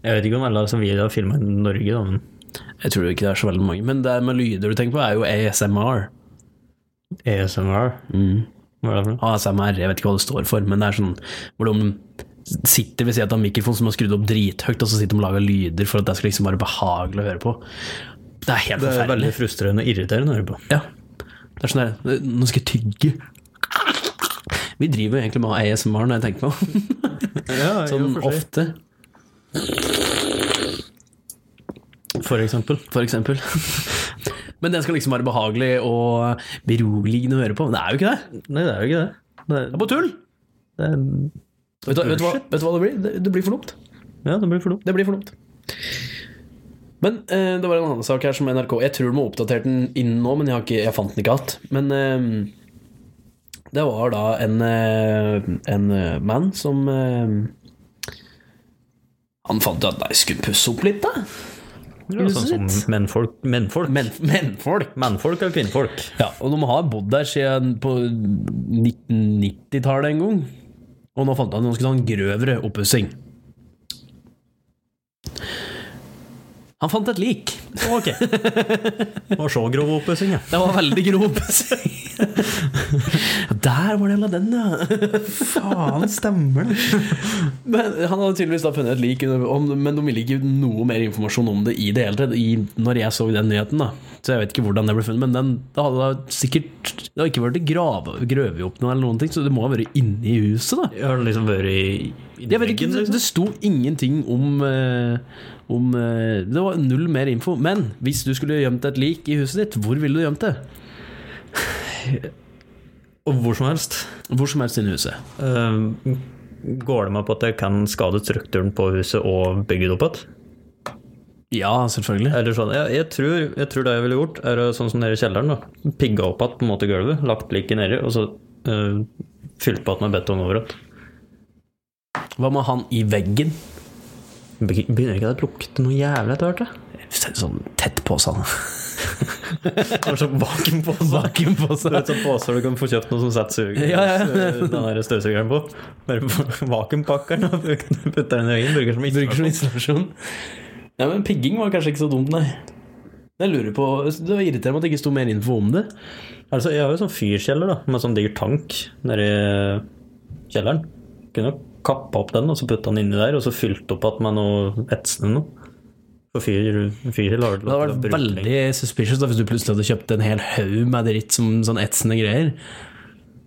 Speaker 1: Jeg vet ikke om alle som vi har filma i Norge, da, men
Speaker 3: Jeg tror ikke det er så veldig mange, men det med lyder du tenker på, er jo ASMR.
Speaker 1: ASMR Hva er det for noe?
Speaker 3: ASMR, jeg vet ikke hva det står for, men det er sånn hvor de sitter ved siden av en mikrofon som er skrudd opp drithøyt, og så sitter de og lager lyder for at det skal liksom være behagelig å høre på. Det er helt
Speaker 1: Det er
Speaker 3: forferdelig.
Speaker 1: veldig frustrerende og irriterende å høre på.
Speaker 3: Ja. Det er sånn der Nå skal jeg tygge. Vi driver jo egentlig med ASMR når jeg tenker meg om. Sånn ofte,
Speaker 1: For eksempel.
Speaker 3: for eksempel. Men den skal liksom være behagelig og beroligende å høre på. Men det er jo ikke det.
Speaker 1: Nei, det er jo ikke det. Det,
Speaker 3: Det er bare tull.
Speaker 1: er- det, er-
Speaker 3: Vet du, vet, du hva, vet du hva det blir? Det, det blir for dumt.
Speaker 1: ja, det blir for dumt.
Speaker 3: Det blir for dumt. Men eh, det var en annen sak her som NRK Jeg tror de har oppdatert den inn nå, men jeg, har ikke, jeg fant den ikke igjen. Men eh, det var da en, eh, en eh, mann som eh, Han fant ut at nei, skulle pusse opp litt, da.
Speaker 1: Det er sånn som mennfolk Mennfolk
Speaker 3: Men, mennfolk.
Speaker 1: Mennfolk og kvinnfolk.
Speaker 3: Ja, og de har bodd der siden på 1990-tallet en gang. Og nå fant han ganske sånn grøvere oppussing. Han fant et lik.
Speaker 1: Ok. Og så grov oppussing, ja.
Speaker 3: Det var veldig grov oppussing. Der var det en av den, ja.
Speaker 1: Faen, stemmer det.
Speaker 3: Men han hadde tydeligvis da funnet et lik, om- men de ville ikke gi noe mer informasjon om det i det hele tatt, i- når jeg så den nyheten. da Så jeg vet ikke hvordan det ble funnet, men den, det hadde da sikkert Det har ikke vært grave- grøvet opp noe, eller noen ting, så det må ha vært inni huset, da.
Speaker 1: Har den liksom vært i, i
Speaker 3: Jeg vet ikke,
Speaker 1: veggen,
Speaker 3: det,
Speaker 1: liksom?
Speaker 3: det sto ingenting om, eh, om eh, Det var null mer info. Men hvis du skulle gjemt et lik i huset ditt, hvor ville du gjemt det?
Speaker 1: Og hvor som helst.
Speaker 3: Hvor som helst inne i huset.
Speaker 1: Eh, går det med på at jeg kan skade strukturen på huset og bygge det opp igjen?
Speaker 3: Ja, selvfølgelig.
Speaker 1: Eller sånn, jeg, jeg, tror, jeg tror det jeg ville gjort, er å, sånn som nede i kjelleren. da Pigga opp igjen på en måte gulvet, lagt liket nedi, og så eh, fylt på igjen med betong overalt.
Speaker 3: Hva med han i veggen?
Speaker 1: Beg- Begynner ikke det å lukte noe jævlig etter hvert? da?
Speaker 3: Sånn tett på seg.
Speaker 1: Kanskje vakuumpose? Du vet sånn poser du kan få kjøpt noe som setter suger
Speaker 3: Ja, ja.
Speaker 1: Den der støvsugeren på. Bare vakuumpakkeren og putter den i øynene. Bruker som ikke
Speaker 3: Bruker som installasjon. Nei, men pigging var kanskje ikke så dumt, nei. Jeg lurer på, Det var irriterende at det ikke sto mer info om det.
Speaker 1: Altså, jeg har jo sånn fyrkjeller da, med sånn diger tank nede i kjelleren. Kunne jo kappa opp den og så putta den inni der, og så fylt opp at med noe etsende noe. For fyr, fyr lar
Speaker 3: Det hadde vært veldig suspicious da, hvis du plutselig hadde kjøpt en hel haug med dritt som sånn etsende greier.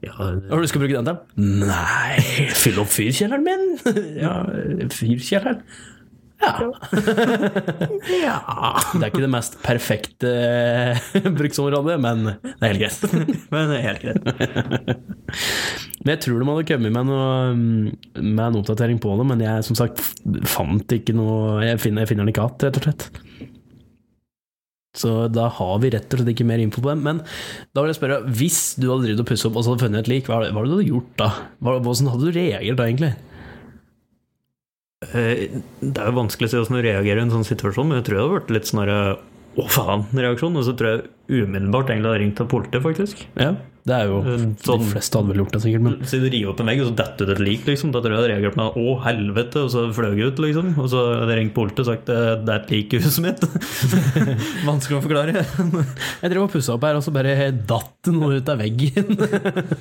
Speaker 1: ja,
Speaker 3: Hva er det du skal bruke den til? Nei, fyll opp fyrkjelleren min! (laughs) Ja, fyrkjelleren? Ja. (laughs) Det er ikke det mest perfekte eh, (laughs) bruksområdet, men det er helt greit.
Speaker 1: Men det (laughs) er helt greit.
Speaker 3: Men jeg tror de hadde kommet med, noe, mm, med en oppdatering på det, men jeg som sagt fant ikke noe Jeg finner, jeg finner den ikke igjen, rett og slett. Så da har vi rett og slett ikke mer info på dem. Men da vil jeg spørre, hvis du hadde drevet og pusset opp og så hadde funnet et lik, hva, hva hadde du gjort da? Hva, hvordan hadde du reagert da, egentlig?
Speaker 1: Eh, Det er jo vanskelig å si hvordan du reagerer i en sånn situasjon, men jeg tror det hadde vært litt snarere å faen-reaksjon. Og så tror jeg umiddelbart egentlig hadde ringt til politiet, faktisk.
Speaker 3: Ja, det er jo
Speaker 1: Sånn.
Speaker 3: De fleste hadde vel gjort det, sikkert, men
Speaker 1: Så du river opp en vegg, og så detter det ut et lik, liksom. Da tror jeg jeg hadde reagert med 'å, helvete', og så fløy jeg ut, liksom. Og så hadde jeg ringt politiet og sagt 'det det er et lik i huset mitt'. (laughs) Vanskelig å forklare.
Speaker 3: (laughs) Jeg drev og pussa opp her, og så bare datt det noe ut av veggen.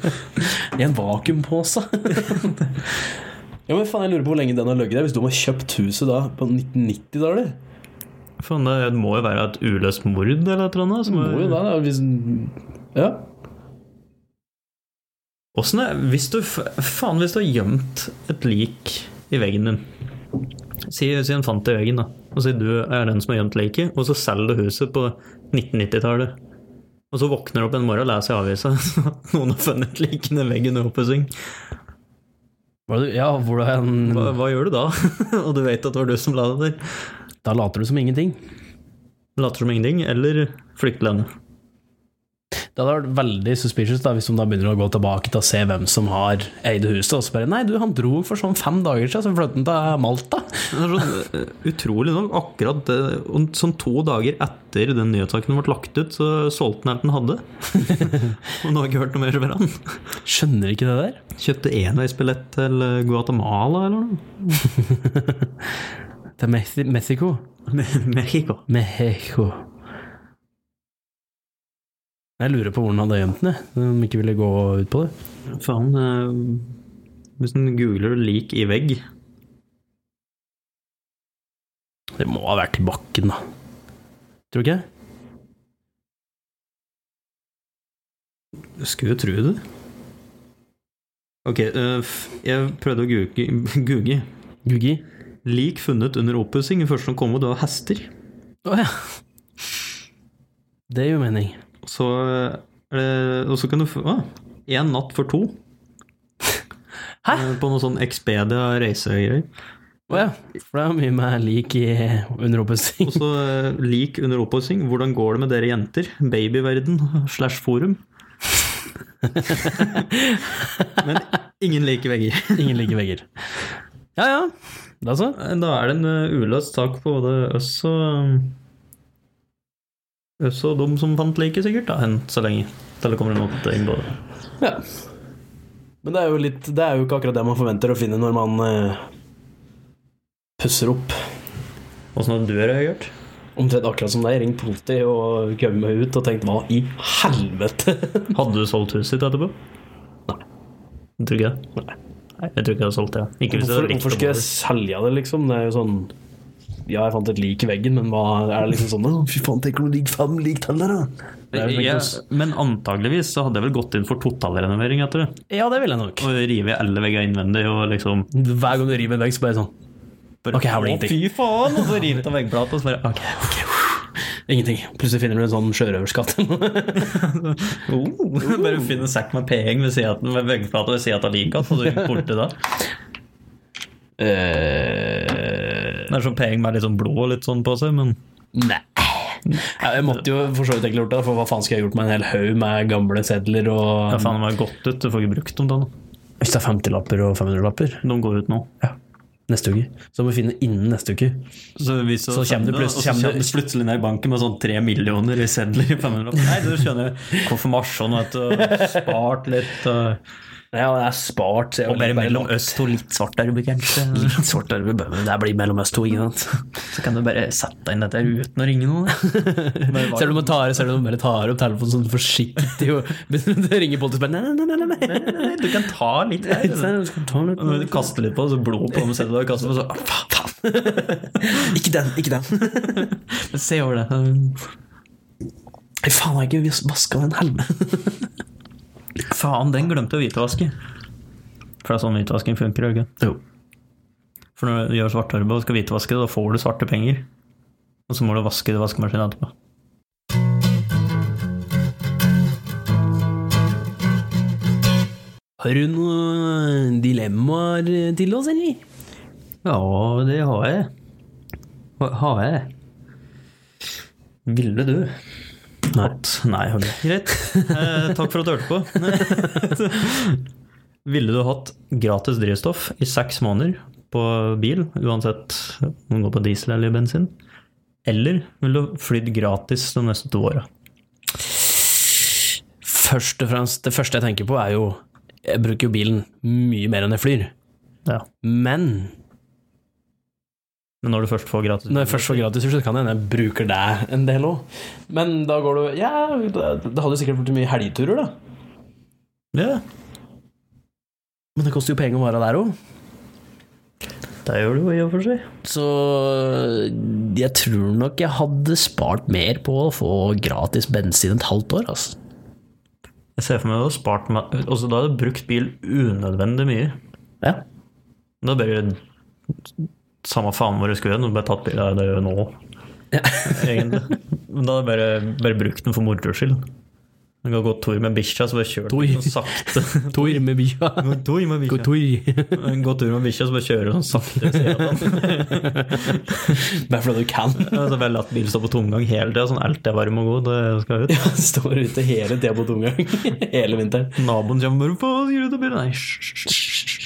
Speaker 3: (laughs) I en vakuumpose. (laughs) ja, men faen, jeg lurer på hvor lenge den har ligget der, hvis de har kjøpt huset da på 1990-tallet?
Speaker 1: Faen, det må jo være et uløst mord eller et eller annet. som
Speaker 3: Må jo
Speaker 1: er-
Speaker 3: da, da, hvis Ja.
Speaker 1: Åssen er hvis du, f- Faen, hvis du har gjemt et lik i veggen din Si, si en fant det i veggen, da. Og si du er den som har gjemt liket, og så selger du huset på 1990-tallet. Og så våkner du opp en morgen og leser i avisa (laughs) at noen har funnet likene i veggen i oppussing.
Speaker 3: Var det, ja, hvordan
Speaker 1: Hva, hva gjør du da? (laughs) og du vet at det var du som la det der.
Speaker 3: Da later du som ingenting.
Speaker 1: Later som ingenting, eller flykter landet.
Speaker 3: Det hadde vært veldig suspicious da, hvis de da begynner å gå tilbake til å se hvem som har eid huset, og så bare Nei, du, han dro for sånn fem dager siden, så flyttet han til Malta.
Speaker 1: Det er sånn, eh, utrolig nok, akkurat det, og sånn to dager etter den nyhetssaken ble lagt ut, så solgte han alt han hadde. (laughs) og nå har jeg ikke hørt noe mer fra han.
Speaker 3: Skjønner ikke det der.
Speaker 1: Kjøpte enveisbillett til Guatemala eller noe.
Speaker 3: Til Mexi- Mexico.
Speaker 1: Mexico.
Speaker 3: Mexico. Jeg lurer på hvordan han hadde gjemt den, jeg. om ikke ville gå ut på det.
Speaker 1: Faen, eh, hvis en googler lik i vegg
Speaker 3: Det må ha vært i bakken, da. Tror du ikke?
Speaker 1: Skulle jo tro det. Ok, eh, f- jeg prøvde å googe, googe.
Speaker 3: Gugi?
Speaker 1: Lik funnet under oppussing. Det første som kom ut, var hester.
Speaker 3: Å ja. Det gir jo mening.
Speaker 1: Og så, er det- og så kan du få ah, En natt for to.
Speaker 3: Hæ?
Speaker 1: Eh, På noe sånn Expedia reisegreier.
Speaker 3: Å ja. For det er jo mye mer lik i underoppussing.
Speaker 1: Og så eh, lik under oppussing. Hvordan går det med dere jenter? Babyverden slash forum. Men ingen liker vegger.
Speaker 3: Ingen ligger vegger. Ja ja. Det er så?
Speaker 1: Da er det en eh, uløst sak på både oss og Oss og dem som fant liket, sikkert, da, enn så lenge. Til det kommer en måte inn på det.
Speaker 3: Ja. Men det er jo litt Det er jo ikke akkurat det man forventer å finne når man eh, pusser opp.
Speaker 1: Åssen hadde du det, Høyert?
Speaker 3: Omtrent akkurat som deg, ringt politi og kommet meg ut og tenkt hva i helvete?
Speaker 1: Hadde du solgt huset ditt etterpå? Nei. Jeg tror ikke det.
Speaker 3: Nei.
Speaker 1: Nei, jeg tror ikke jeg hadde solgt det. Ikke hvis jeg
Speaker 3: Hvorfor,
Speaker 1: hadde likt
Speaker 3: hvorfor skal jeg
Speaker 1: det.
Speaker 3: selge det, liksom? Det er jo sånn Ja, jeg fant et lik i veggen, men hva er det liksom sånn «Å, Fy faen, tenk om det ligger fem lik til der, da? Det er jo
Speaker 1: Ja,
Speaker 3: liksom-
Speaker 1: men antageligvis så hadde jeg vel gått inn for totalrenovering etter det.
Speaker 3: Ja, det vil jeg nok.
Speaker 1: Og rive alle veggene innvendig og liksom
Speaker 3: Hver gang du river en vegg, så bare sånn Ok, her blir det
Speaker 1: Å,
Speaker 3: ingenting.
Speaker 1: Fy faen! Og så rive av veggplata, og så bare OK.
Speaker 3: Ingenting. Plutselig finner du en sånn sjørøverskatt. (laughs)
Speaker 1: Oh. (laughs) Bare finn en sekk med penger ved siden av den, med veggplata ved siden av lika, så du er borte da.
Speaker 3: Eh,
Speaker 1: Det er sånn penger med litt sånn blå og litt sånn på seg, men
Speaker 3: nei. Ja, jeg måtte jo for så vidt egentlig gjort det, for hva faen skal jeg gjort med en hel haug med gamle sedler og
Speaker 1: ja, faen, de har gått ut. Du får ikke brukt dem da. nå.
Speaker 3: Hvis det er 50-lapper og 500-lapper
Speaker 1: De går ut nå.
Speaker 3: ja. neste uke, så må vi finne innen neste uke.
Speaker 1: Så, hvis jeg
Speaker 3: Så
Speaker 1: sender
Speaker 3: kommer du
Speaker 1: det,
Speaker 3: plutselig-
Speaker 1: og så
Speaker 3: kommer
Speaker 1: kommer du plutselig ned i banken med sånn tre millioner i sedler i 500 Nei, du skjønner konfirmasjon, sånn, vet du, og spart litt. Og,
Speaker 3: Ja, det er spart. så jeg
Speaker 1: og bare
Speaker 3: bare-
Speaker 1: mellom øst og litt svart arbeid, kanskje.
Speaker 3: Litt svart arbeid, bare- men det blir mellom oss to, ikke sant?
Speaker 1: Så kan du bare sette inn dette uten å ringe noen.
Speaker 3: Ser du om man tar, ser du om man bare tar opp telefonen sånn forsiktig og begynner å ringe politiet og spørre Nei, nei, nei, nei, nei.
Speaker 1: Du kan ta litt
Speaker 3: Nei,
Speaker 1: her.
Speaker 3: nei, skal ta litt-
Speaker 1: Når du kaster litt på det, så blod på dem selv, og kaster på så «Å, faen, faen.
Speaker 3: Ikke den, ikke den.
Speaker 1: Se over det.
Speaker 3: Nei, faen, har jeg ikke vaska den helmen?
Speaker 1: Faen, den glemte å hvitvaske. For det er sånn hvitvasking funker, ikke?
Speaker 3: Jo.
Speaker 1: For når du gjør svart arbeid og skal hvitvaske det, da får du svarte penger. Og så må du vaske det i vaskemaskinen etterpå.
Speaker 3: Har du noen dilemmaer til oss, eller?
Speaker 1: Ja, det har jeg. Hva- Har jeg? Ville du? Nei. Nei, har du. Greit. Eh, takk for at du hørte på. (laughs) Ville du hatt gratis drivstoff i seks måneder på bil, uansett om det går på diesel eller bensin? Eller ville du flydd gratis de neste to åra?
Speaker 3: Først og fremst, det første jeg tenker på, er jo Jeg bruker jo bilen mye mer enn jeg flyr.
Speaker 1: Ja.
Speaker 3: Men
Speaker 1: Men når du først får gratis
Speaker 3: Når jeg først får gratis så kan det hende jeg bruker deg en del òg. Men da går du Ja, det det hadde jo sikkert blitt mye helgeturer, da.
Speaker 1: Ja,
Speaker 3: Men det koster jo penger å være der òg.
Speaker 1: det gjør du jo i og for seg.
Speaker 3: Så jeg tror nok jeg hadde spart mer på å få gratis bensin et halvt år, altså.
Speaker 1: Jeg ser for meg at du har spart meg Også da har du brukt bil unødvendig mye.
Speaker 3: Ja.
Speaker 1: Da er det bare samme faen hvor du skulle hen, og bare tatt bilen av deg nå. (laughs) Egentlig. Men da hadde jeg bare, bare brukt den for moro skyld. Du kan gå tur med bikkja, så bare kjører
Speaker 3: Tor.
Speaker 1: du sånn sakte. (laughs)
Speaker 3: Tor med bia.
Speaker 1: Tur med bikkja.
Speaker 3: Tor.
Speaker 1: Gå tur med bikkja, så bare kjører du sånn sakte. ved siden av den.
Speaker 3: Bare fordi du kan. (laughs)
Speaker 1: Og så bare latt bilen stå på tomgang hele tida, sånn alt er varm og god, det skal ut.
Speaker 3: Står ute hele tida på tomgang. (laughs) Hele vinteren.
Speaker 1: Naboen kommer bare på og skrur ut av bilen. Nei, hysj, hysj, hysj.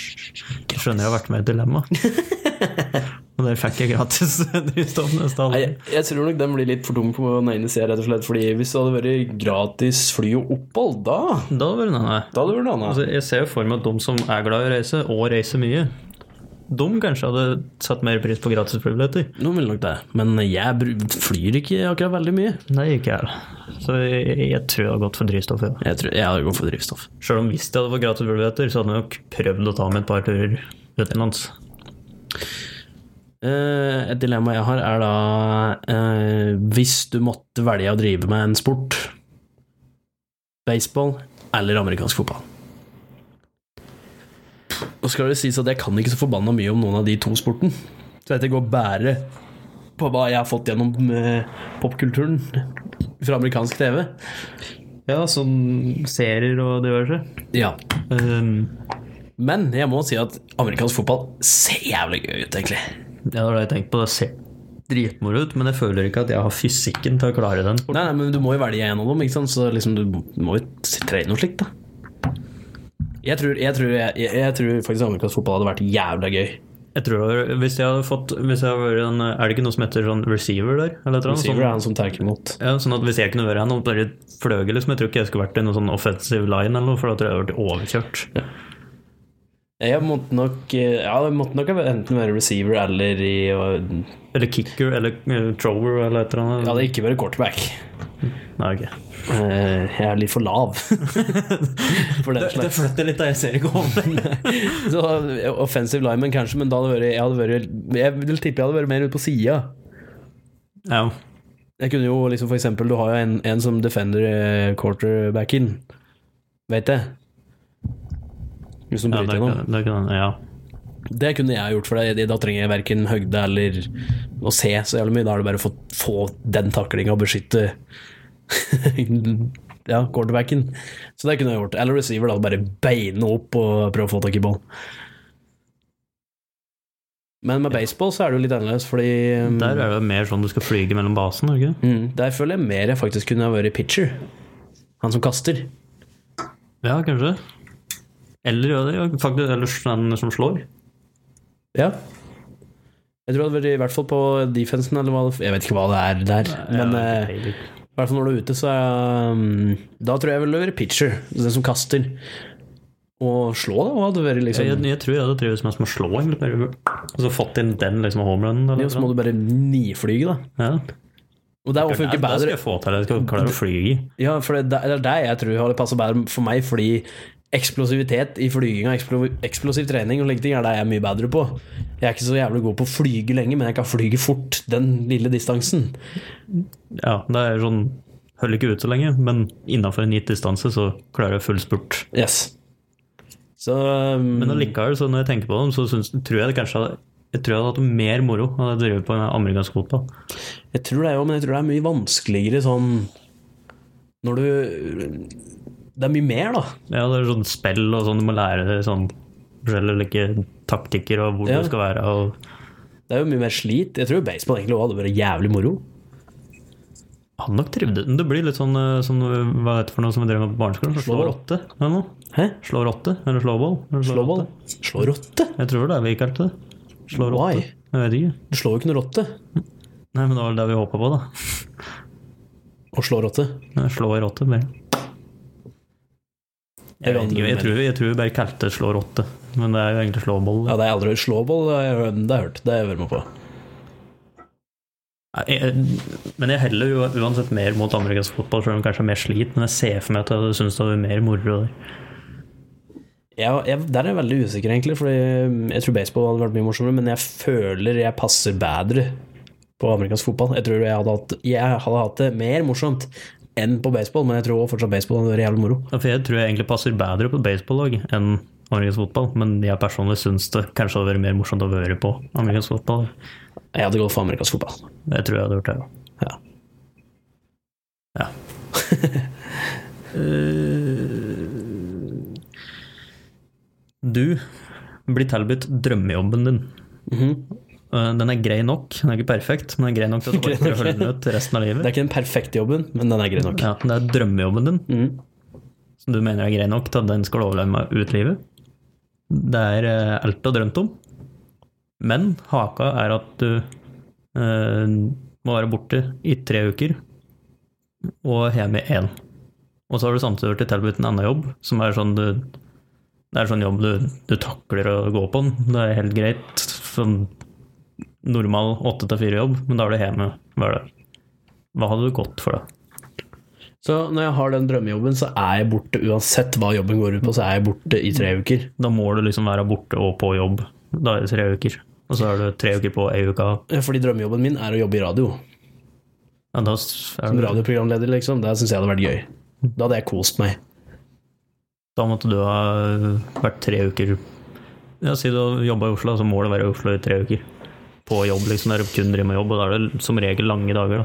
Speaker 1: Jeg skjønner jeg har vært med i et dilemma. (laughs) Og der fikk jeg gratis (laughs) drivstoff neste
Speaker 4: Nei,
Speaker 1: halvår.
Speaker 4: jeg, jeg tror nok den blir litt for tung på den ene sida, rett og slett. Fordi hvis det hadde vært gratis fly og opphold, da
Speaker 1: Da var det nei.
Speaker 4: Da hadde det vært noe annet.
Speaker 1: Altså, jeg ser jo for meg at de som er glad i å reise, og reiser mye, de kanskje hadde satt mer pris på gratis flybilletter.
Speaker 3: Noen vil nok det, men jeg bru- flyr ikke akkurat veldig mye.
Speaker 1: Nei, ikke jeg. Så jeg, jeg tror jeg hadde gått for drivstoff. Ja.
Speaker 3: Jeg tror jeg hadde gått for drivstoff.
Speaker 1: Selv om hvis jeg hadde fått gratis flybilletter, så hadde jeg nok prøvd å ta med et par turer utenlands.
Speaker 3: Eh, Et dilemma jeg har, er da eh, Hvis du måtte velge å drive med en sport, baseball eller amerikansk fotball Og skal det sies at jeg kan ikke så forbanna mye om noen av de to sportene. Så dette går bare på hva jeg har fått gjennom eh, popkulturen fra amerikansk TV.
Speaker 1: Ja, som serier og diverse.
Speaker 3: Ja.
Speaker 1: Um,
Speaker 3: Men jeg må si at amerikansk fotball ser jævlig gøy ut, egentlig.
Speaker 1: ja, det var det jeg tenkte på. Det ser dritmoro ut, men jeg føler ikke at jeg har fysikken til å klare den.
Speaker 3: Nei, nei, men du må jo velge en av dem, ikke sant? så liksom, du må jo trene noe slikt, da. Jeg tror, jeg, tror, jeg, jeg, jeg tror faktisk amerikansk fotball hadde vært jævla gøy.
Speaker 1: Jeg tror det var, hvis jeg hadde fått hvis jeg hadde vært en, Er det ikke noe som heter sånn receiver der? Eller et eller annet?
Speaker 3: Receiver er han som tar imot.
Speaker 1: Sånn, ja, sånn at Hvis jeg kunne vært han og bare fløy, liksom, jeg tror ikke jeg skulle vært i noen sånn offensive line, eller noe, for da tror jeg jeg hadde vært overkjørt.
Speaker 3: Jeg måtte nok eh, Ja, jeg måtte nok enten være receiver eller i Ja,
Speaker 1: Eller kicker eller eh, thrower eller et eller annet.
Speaker 3: det er ikke være quarterback.
Speaker 1: Nei, ok.
Speaker 3: Eh, Jeg er litt for lav (laughs) for den slags.
Speaker 1: flytter litt, da. Jeg ser ikke over
Speaker 3: (laughs) Så, eh, offensive lineman kanskje, men da hadde vært, jeg hadde vært Jeg vil tippe jeg hadde vært mer ute på sida.
Speaker 1: (laughs) Ja.
Speaker 3: Jeg kunne jo liksom for eksempel Du har jo en, en som defender eh, quarterbacken. Vet jeg. Hvis du
Speaker 1: Ja,
Speaker 3: bryter
Speaker 1: det,
Speaker 3: gjennom.
Speaker 1: kan- det kan, ja.
Speaker 3: Det kunne jeg gjort for deg. Da trenger jeg verken høgde eller å se så jævlig mye. Da er det bare å få, få den taklinga og beskytte (laughs) ja, quarterbacken. Så det kunne jeg gjort. Eller receiver, da. Bare beine opp og prøve å få tak i ball. Men med baseball så er det jo litt annerledes, fordi um,
Speaker 1: Der er det mer sånn du skal flyge mellom basene, ikke
Speaker 3: mm, der føler jeg mer jeg faktisk kunne ha vært pitcher. Han som kaster.
Speaker 1: Ja, kanskje. Eller, ja, det, ja, faktisk, eller den som slår.
Speaker 3: Ja. Jeg tror det hadde vært i hvert fall på defensen, eller hva det Jeg vet ikke hva det er der, men eh, I hvert fall når du er ute, så er um, Da tror jeg jeg ville vært pitcher. Den som kaster. Og slå, da. Hva hadde vært
Speaker 1: jeg,
Speaker 3: liksom
Speaker 1: jeg, jeg tror jeg hadde trives mest med å slå, egentlig. bare- Og så fått inn den liksom homerunnen.
Speaker 3: Jo,
Speaker 1: Eller,
Speaker 3: så må du bare niflyge, da.
Speaker 1: ja.
Speaker 3: Og det er
Speaker 1: Nei,
Speaker 3: funker
Speaker 1: da skal
Speaker 3: bedre.
Speaker 1: jeg få til det. Jeg skal klare å fly i.
Speaker 3: Ja, for det, det er det jeg tror hadde passa bedre for meg, fordi eksplosivitet i flyginga, eksplo, eksplosiv trening og slike ting, er det jeg er mye bedre på. Jeg er ikke så jævlig god på å flyge lenge, men jeg kan flyge fort den lille distansen.
Speaker 1: Ja, det er sånn Holder ikke ut så lenge, men innafor en gitt distanse så klarer jeg full spurt.
Speaker 3: Yes. Så um,
Speaker 1: Men allikevel, så når jeg tenker på dem, så syns, tror jeg det kanskje hadde jeg tror jeg hadde hatt mer moro hadde jeg drevet på med amerikansk fotball.
Speaker 3: Jeg tror det jo, men jeg tror det er mye vanskeligere sånn Når du Det er mye mer, da.
Speaker 1: Ja, det er sånn spill og sånn, du må lære deg sånn forskjellige like, taktikker og hvor
Speaker 3: Ja.
Speaker 1: du skal være og
Speaker 3: Det er jo mye mer slit. Jeg tror baseball egentlig også hadde vært jævlig moro.
Speaker 1: Han nok trivdes. Men Det blir litt sånn eh, som hva er det for noe som vi drev med på barneskolen? Slå
Speaker 3: Slå.
Speaker 1: rotte eller noe?
Speaker 3: Hæ?
Speaker 1: Slå rotte eller slå ball? Eller slå
Speaker 3: Slå ball?
Speaker 1: rotte?
Speaker 3: Slå rotte?
Speaker 1: Jeg tror det er vi ikke kalte det. Slå rotte.
Speaker 3: Why?
Speaker 1: Jeg vet ikke.
Speaker 3: Du slår jo ikke noe rotte.
Speaker 1: Nei, men det var vel det vi håpa på, da.
Speaker 3: Å slå rotte.
Speaker 1: Nei, Slå ei rotte, bare. Jeg, vet ikke, jeg, tror, jeg tror vi bare kalte det slå rotte, men det er jo egentlig slåboll.
Speaker 3: Ja, det er aldri slåball. Det har jeg hørt. Det har jeg hørt. Det har jeg vært med på.
Speaker 1: Jeg- jeg- Men jeg heller jo uansett mer mot amerikansk fotball, selv om jeg kanskje er mer slit, men jeg ser for meg at jeg syns det er mer moro der.
Speaker 3: Jeg, jeg, der er jeg veldig usikker, egentlig. Fordi jeg tror baseball hadde vært mye morsommere, men jeg føler jeg passer bedre på amerikansk fotball. Jeg tror jeg hadde hatt, jeg hadde hatt det mer morsomt enn på baseball, men jeg tror også fortsatt baseball hadde vært jævlig moro.
Speaker 1: Ja, For jeg tror jeg egentlig passer bedre på baseballag enn amerikansk fotball, men jeg personlig syns det kanskje hadde vært mer morsomt å være på amerikansk fotball.
Speaker 3: Jeg hadde gått for amerikansk fotball.
Speaker 1: Jeg tror jeg hadde gjort det,
Speaker 3: Ja.
Speaker 1: ja. Ja. Eh, du blir tilbudt drømmejobben din.
Speaker 3: Mhm.
Speaker 1: Eh, Den er grei nok. Den er ikke perfekt, men den er grei nok til at du orker å holde den ut resten av
Speaker 3: Det
Speaker 1: livet.
Speaker 3: er ikke den perfekte jobben, men den er grei nok.
Speaker 1: Ja, det er drømmejobben din
Speaker 3: Mhm.
Speaker 1: som du mener er grei nok til at den skal overleve meg ut livet. Det er eh, alt du har drømt om. Men haka er at du eh, må være borte i tre uker og hjemme i én. Og så har du samtidig vært tilbudt en annen jobb, som er sånn du Det er sånn jobb du, du takler å gå på den. Det er helt greit. Sånn normal åtte til fire-jobb, men da er du hjemme hver dag. Hva hadde du gått for, da?
Speaker 3: Så når jeg har den drømmejobben, så er jeg borte uansett hva jobben går ut på. Så er jeg borte i tre uker.
Speaker 1: Da må du liksom være borte og på jobb. Da er det tre uker. Og så er det tre uker på ei uke.
Speaker 3: Ja, Fordi drømmejobben min er å jobbe i radio.
Speaker 1: Ja, da s- er
Speaker 3: Som
Speaker 1: det,
Speaker 3: radioprogramleder, liksom. Det syns jeg hadde vært gøy. Da hadde jeg kost meg.
Speaker 1: da måtte du ha vært tre uker ja, Si du jobba i Oslo, så må du være i Oslo i tre uker. På jobb, liksom. Der du kun driver med jobb, og da er det som regel lange dager, da.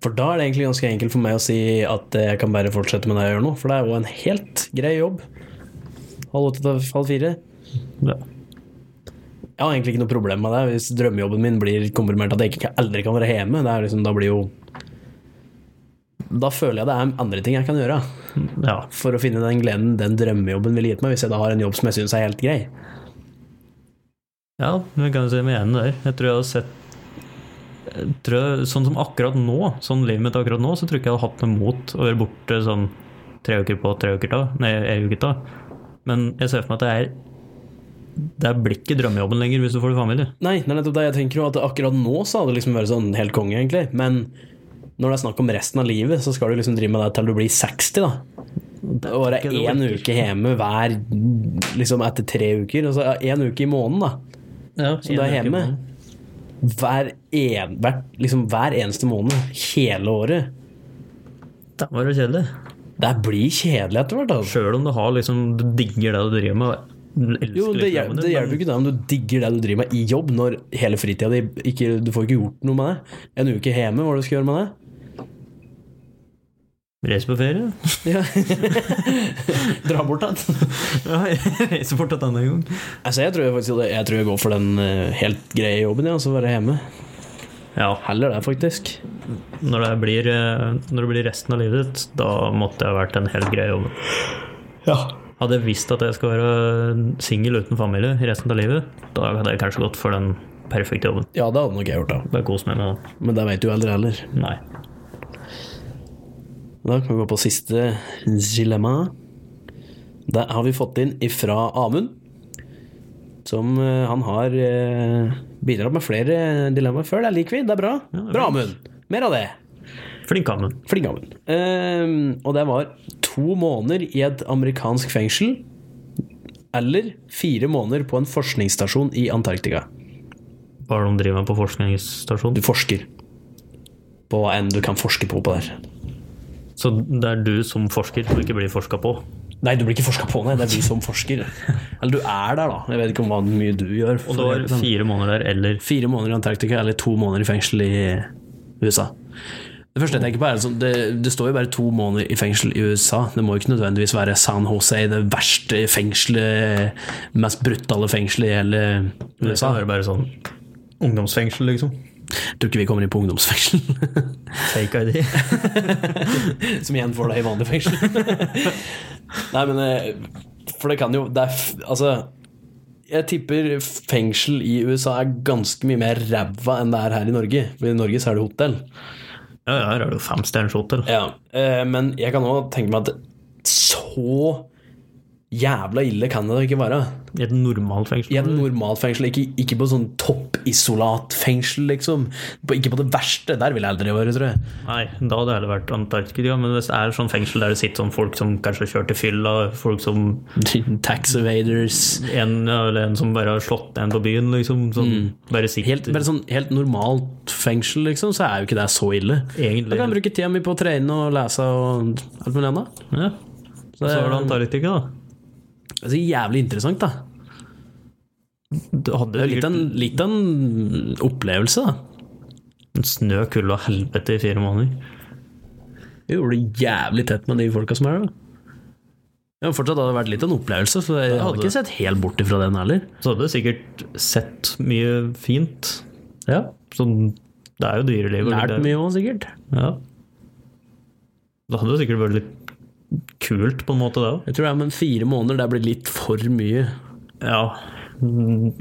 Speaker 3: For da er det egentlig ganske enkelt for meg å si at jeg kan bare fortsette med det jeg gjør nå. For det er jo en helt grei jobb. Halv åtte til halv fire.
Speaker 1: Ja.
Speaker 3: Jeg har egentlig ikke noe problem med det hvis drømmejobben min blir komprimert at jeg ikke, aldri kan være hjemme. Det er liksom, da blir jo Da føler jeg det er andre ting jeg kan gjøre
Speaker 1: ja.
Speaker 3: for å finne den gleden den drømmejobben ville gitt meg, hvis jeg da har en jobb som jeg syns er helt grei.
Speaker 1: Ja, vi kan jo si meg enig der. Jeg tror jeg hadde sett jeg tror, jeg- Sånn som akkurat nå, sånn livet mitt akkurat nå, så tror jeg ikke jeg hadde hatt noe mot å være borte sånn tre uker på, tre uker da. Nei, ei uke da. Men jeg ser for meg at det er Det blir ikke drømmejobben lenger hvis du får familie.
Speaker 3: Nei, det er nettopp det jeg tenker jo at akkurat nå så hadde det liksom vært sånn helt konge, egentlig. Men når det er snakk om resten av livet, så skal du liksom drive med det til du blir 60, da. Og være
Speaker 1: ikke det
Speaker 3: én uke hjemme hver liksom etter tre uker. Altså én uke i måneden, da.
Speaker 1: Ja,
Speaker 3: Så du er hjemme hver, en, hver, liksom, hver eneste måned hele året.
Speaker 1: Det var jo kjedelig.
Speaker 3: Det blir kjedelig etter hvert, altså.
Speaker 1: Sjøl om du har liksom Du digger det du driver med. og elsker
Speaker 3: Jo, det,
Speaker 1: liksom
Speaker 3: hjel
Speaker 1: jobben
Speaker 3: det
Speaker 1: din,
Speaker 3: hjelper jo ikke det om du digger det du driver med i jobb, når hele fritida di ikke Du får ikke gjort noe med det. En uke hjemme, hva er det du skal gjøre med det?
Speaker 1: men Reis på ferie.
Speaker 3: Ja. Dra bort den.
Speaker 1: (laughs) Ja, jeg reiser bort en annen gang.
Speaker 3: Altså, jeg tror jeg, faktisk, jeg tror jeg går for den eh, helt greie jobben, ja, og så være hjemme.
Speaker 1: Ja,
Speaker 3: Heller det, faktisk.
Speaker 1: Når det, blir, eh, når det blir resten av livet ditt, da måtte jeg ha vært en helt grei jobb.
Speaker 3: Ja.
Speaker 1: Hadde jeg visst at jeg skal være singel uten familie resten av livet, da hadde jeg kanskje gått for den perfekte jobben.
Speaker 3: ja, det hadde nok jeg gjort, da.
Speaker 1: Bare kos meg med det.
Speaker 3: Men det vet du aldri heller.
Speaker 1: Nei.
Speaker 3: Da kan vi gå på siste dilemma. Der har vi fått inn ifra Amund. Som eh, han har eh, bidratt med flere dilemmaer før. Det liker vi. Det er bra.
Speaker 1: det er
Speaker 3: Bra, Amund. Mer av det.
Speaker 1: Flink Amund.
Speaker 3: Flink av henne. Ehm, og det var to måneder i et amerikansk fengsel eller fire måneder på en forskningsstasjon i Antarktika.
Speaker 1: Hva er det de driver med på forskningsstasjonen?
Speaker 3: Du forsker på hva enn du kan forske på på der.
Speaker 1: Så det er du som forsker som ikke blir forska på?
Speaker 3: Nei, du blir ikke forska på, nei. Det er du som forsker. Eller du er der, da. Jeg vet ikke om hva mye du gjør.
Speaker 1: Og det var fire måneder der, eller
Speaker 3: fire måneder i Antarktika eller to måneder i fengsel i USA. Det første jeg tenker på er altså, det, det står jo bare to måneder i fengsel i USA. Det må jo ikke nødvendigvis være San Jose, det verste fengselet, mest brutale fengselet i hele
Speaker 1: Det
Speaker 3: USA.
Speaker 1: være bare sånn ungdomsfengsel, liksom.
Speaker 3: Jeg tror ikke vi kommer inn på ungdomsfengsel,
Speaker 1: Fake (laughs) ID.
Speaker 3: (laughs) som igjen får deg i vanlig fengsel. (laughs) Nei, men eh, For det kan jo det er, f- Altså, jeg tipper fengsel i USA er ganske mye mer ræva enn det er her i Norge. For i Norge så er det hotell.
Speaker 1: Ja, ja, her er det jo femstjerners hotell.
Speaker 3: Ja, eh, men jeg kan òg tenke meg at så jævla ille kan det da ikke være.
Speaker 1: I et normalt fengsel.
Speaker 3: I et normalt fengsel, ikke, ikke på sånn toppisolatfengsel, liksom. På, ikke på det verste. Der vil jeg aldri være, tror jeg.
Speaker 1: Nei, da hadde det heller vært Antarktika. Men hvis det er sånn fengsel der det sitter sånn folk som kanskje har kjørt i fylla, folk som
Speaker 3: (laughs) Tax evaders.
Speaker 1: en, eller en som bare har slått en på byen, liksom, som bare sitter
Speaker 3: Mm. Helt, bare sånn helt normalt fengsel, liksom, så er jo ikke det så ille. Da
Speaker 1: egentlig
Speaker 3: kan jeg bruke tida mi på å trene og lese og alt mulig annet.
Speaker 1: ja. Så er det Antarktika, da.
Speaker 3: Det er så jævlig interessant, da.
Speaker 1: Du hadde
Speaker 3: Det er litt
Speaker 1: sikkert
Speaker 3: av en, litt av en opplevelse, da.
Speaker 1: en snø, kulde og helvete i fire måneder.
Speaker 3: Vi gjorde det jævlig tett med de folka som er der. da. Ja, men fortsatt hadde det vært litt av en opplevelse, så jeg hadde
Speaker 1: hadde
Speaker 3: ikke sett helt bort ifra den heller.
Speaker 1: Så hadde du sikkert sett mye fint.
Speaker 3: Ja,
Speaker 1: Sånn, det er jo dyreliv. og
Speaker 3: Lært
Speaker 1: det-
Speaker 3: mye òg, sikkert.
Speaker 1: Ja. Det hadde jo sikkert vært litt kult, på en måte, det òg.
Speaker 3: Jeg tror det er med fire måneder det blir litt for mye.
Speaker 1: Ja. Mm,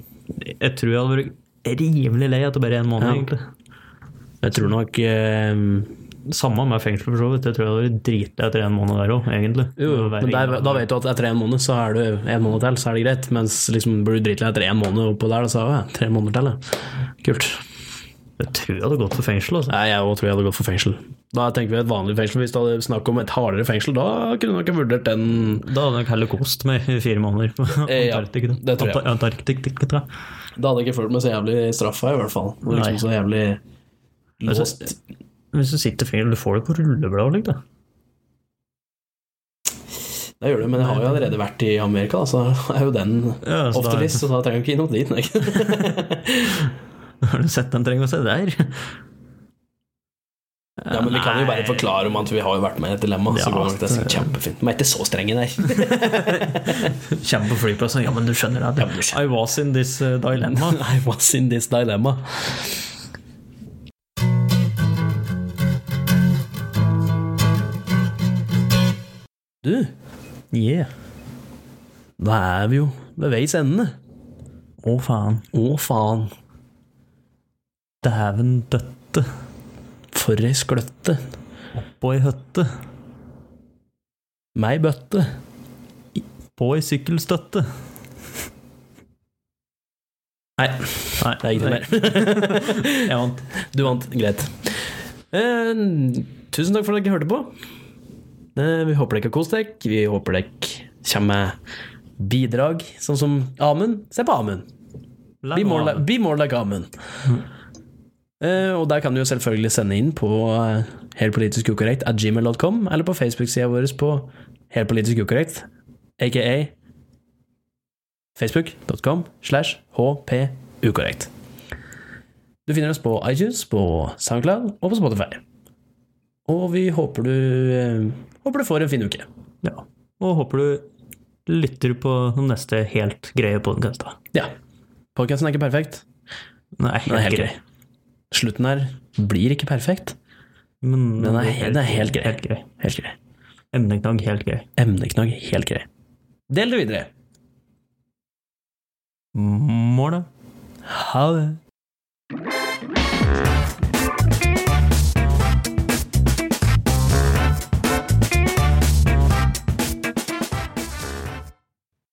Speaker 1: Jeg tror jeg hadde vært rimelig lei etter bare en måned,
Speaker 3: Ja.
Speaker 1: egentlig.
Speaker 3: Jeg tror nok eh,
Speaker 1: Samme med fengsel, for så vidt. Jeg tror jeg hadde vært dritlei etter en måned der òg, egentlig.
Speaker 3: Jo,
Speaker 1: Det å være
Speaker 3: men der,
Speaker 1: inne-
Speaker 3: da vet du at etter en måned så er du en måned til, så er det greit. Mens liksom blir du dritlei etter en måned oppå der, da sa jeg tre måneder til. ja. Kult.
Speaker 1: Jeg tror jeg hadde gått for fengsel, altså.
Speaker 3: Nei, jeg også tror jeg hadde gått for fengsel. Da tenker vi et vanlig fengsel. Hvis det hadde snakk om et hardere fengsel, da kunne du nok ha vurdert den
Speaker 1: Da hadde jeg nok heller kost meg i fire måneder (laughs) på
Speaker 3: Eh, ja,
Speaker 1: Antarktika.
Speaker 3: det tror jeg.
Speaker 1: Anta- Antarktika.
Speaker 3: Da hadde jeg ikke følt meg så jævlig straffa, i hvert fall. Og liksom
Speaker 1: Nei.
Speaker 3: så jævlig låst.
Speaker 1: Altså, Hvis du sitter i fengsel, du får det på rullebladet, liksom. (laughs)
Speaker 3: Det gjør du, men jeg har jo allerede vært i Amerika, da, så (laughs) er jo den
Speaker 1: Ja, så
Speaker 3: ofte
Speaker 1: da-
Speaker 3: list, så da trenger jeg ikke innom dit.
Speaker 1: (laughs)
Speaker 3: Nei.
Speaker 1: Har du sett den trenger å se der? (laughs)
Speaker 3: Ja, men vi kan jo bare forklare om at vi har jo vært med i et dilemma, så
Speaker 1: Ja,
Speaker 3: går nok det sikkert kjempefint. Men jeg er ikke så strenge der.
Speaker 1: Kjem på flyplassen, ja, men du skjønner det.
Speaker 3: men du
Speaker 1: I was in this
Speaker 3: (laughs)
Speaker 1: uh, dilemma.
Speaker 3: I was in this dilemma. Du,
Speaker 1: Yeah.
Speaker 3: da er vi jo ved veis ende.
Speaker 1: Å, faen.
Speaker 3: Å, faen.
Speaker 1: Dæven døtte.
Speaker 3: For ei skløtte.
Speaker 1: På ei høtte.
Speaker 3: Meg bøtte.
Speaker 1: På ei sykkelstøtte.
Speaker 3: Nei,
Speaker 1: Nei,
Speaker 3: det er ikke noe
Speaker 1: nei.
Speaker 3: mer. (laughs)
Speaker 1: Jeg vant.
Speaker 3: Du vant. Greit. Eh, tusen takk for at dere hørte på. Eh, vi håper dere har kost dere. Vi håper dere kommer med bidrag, sånn som Amund. Se på Amund. Be more, like, be more like Amund. Eh, og der kan du jo selvfølgelig sende inn på eh, helt politisk ukorrekt at gmail.com, eller på Facebook-sida vår på helt politisk ukorrekt, aka facebook.com slash hpukorrekt. Du finner oss på iTunes, på SoundCloud og på Spotify. Og vi håper du, eh, håper du får en fin uke.
Speaker 1: Ja. Og håper du lytter på den neste helt greie podkasten.
Speaker 3: Ja. Podkasten er ikke perfekt.
Speaker 1: Nei,
Speaker 3: Den er
Speaker 1: helt
Speaker 3: helt
Speaker 1: grei.
Speaker 3: grei. Slutten her blir ikke perfekt.
Speaker 1: Men
Speaker 3: Den er, den er helt grei.
Speaker 1: Helt grei.
Speaker 3: Helt grei.
Speaker 1: Emneknagg, helt grei.
Speaker 3: Emneknagg, helt grei. Del det videre.
Speaker 1: Målet.
Speaker 3: Ha det.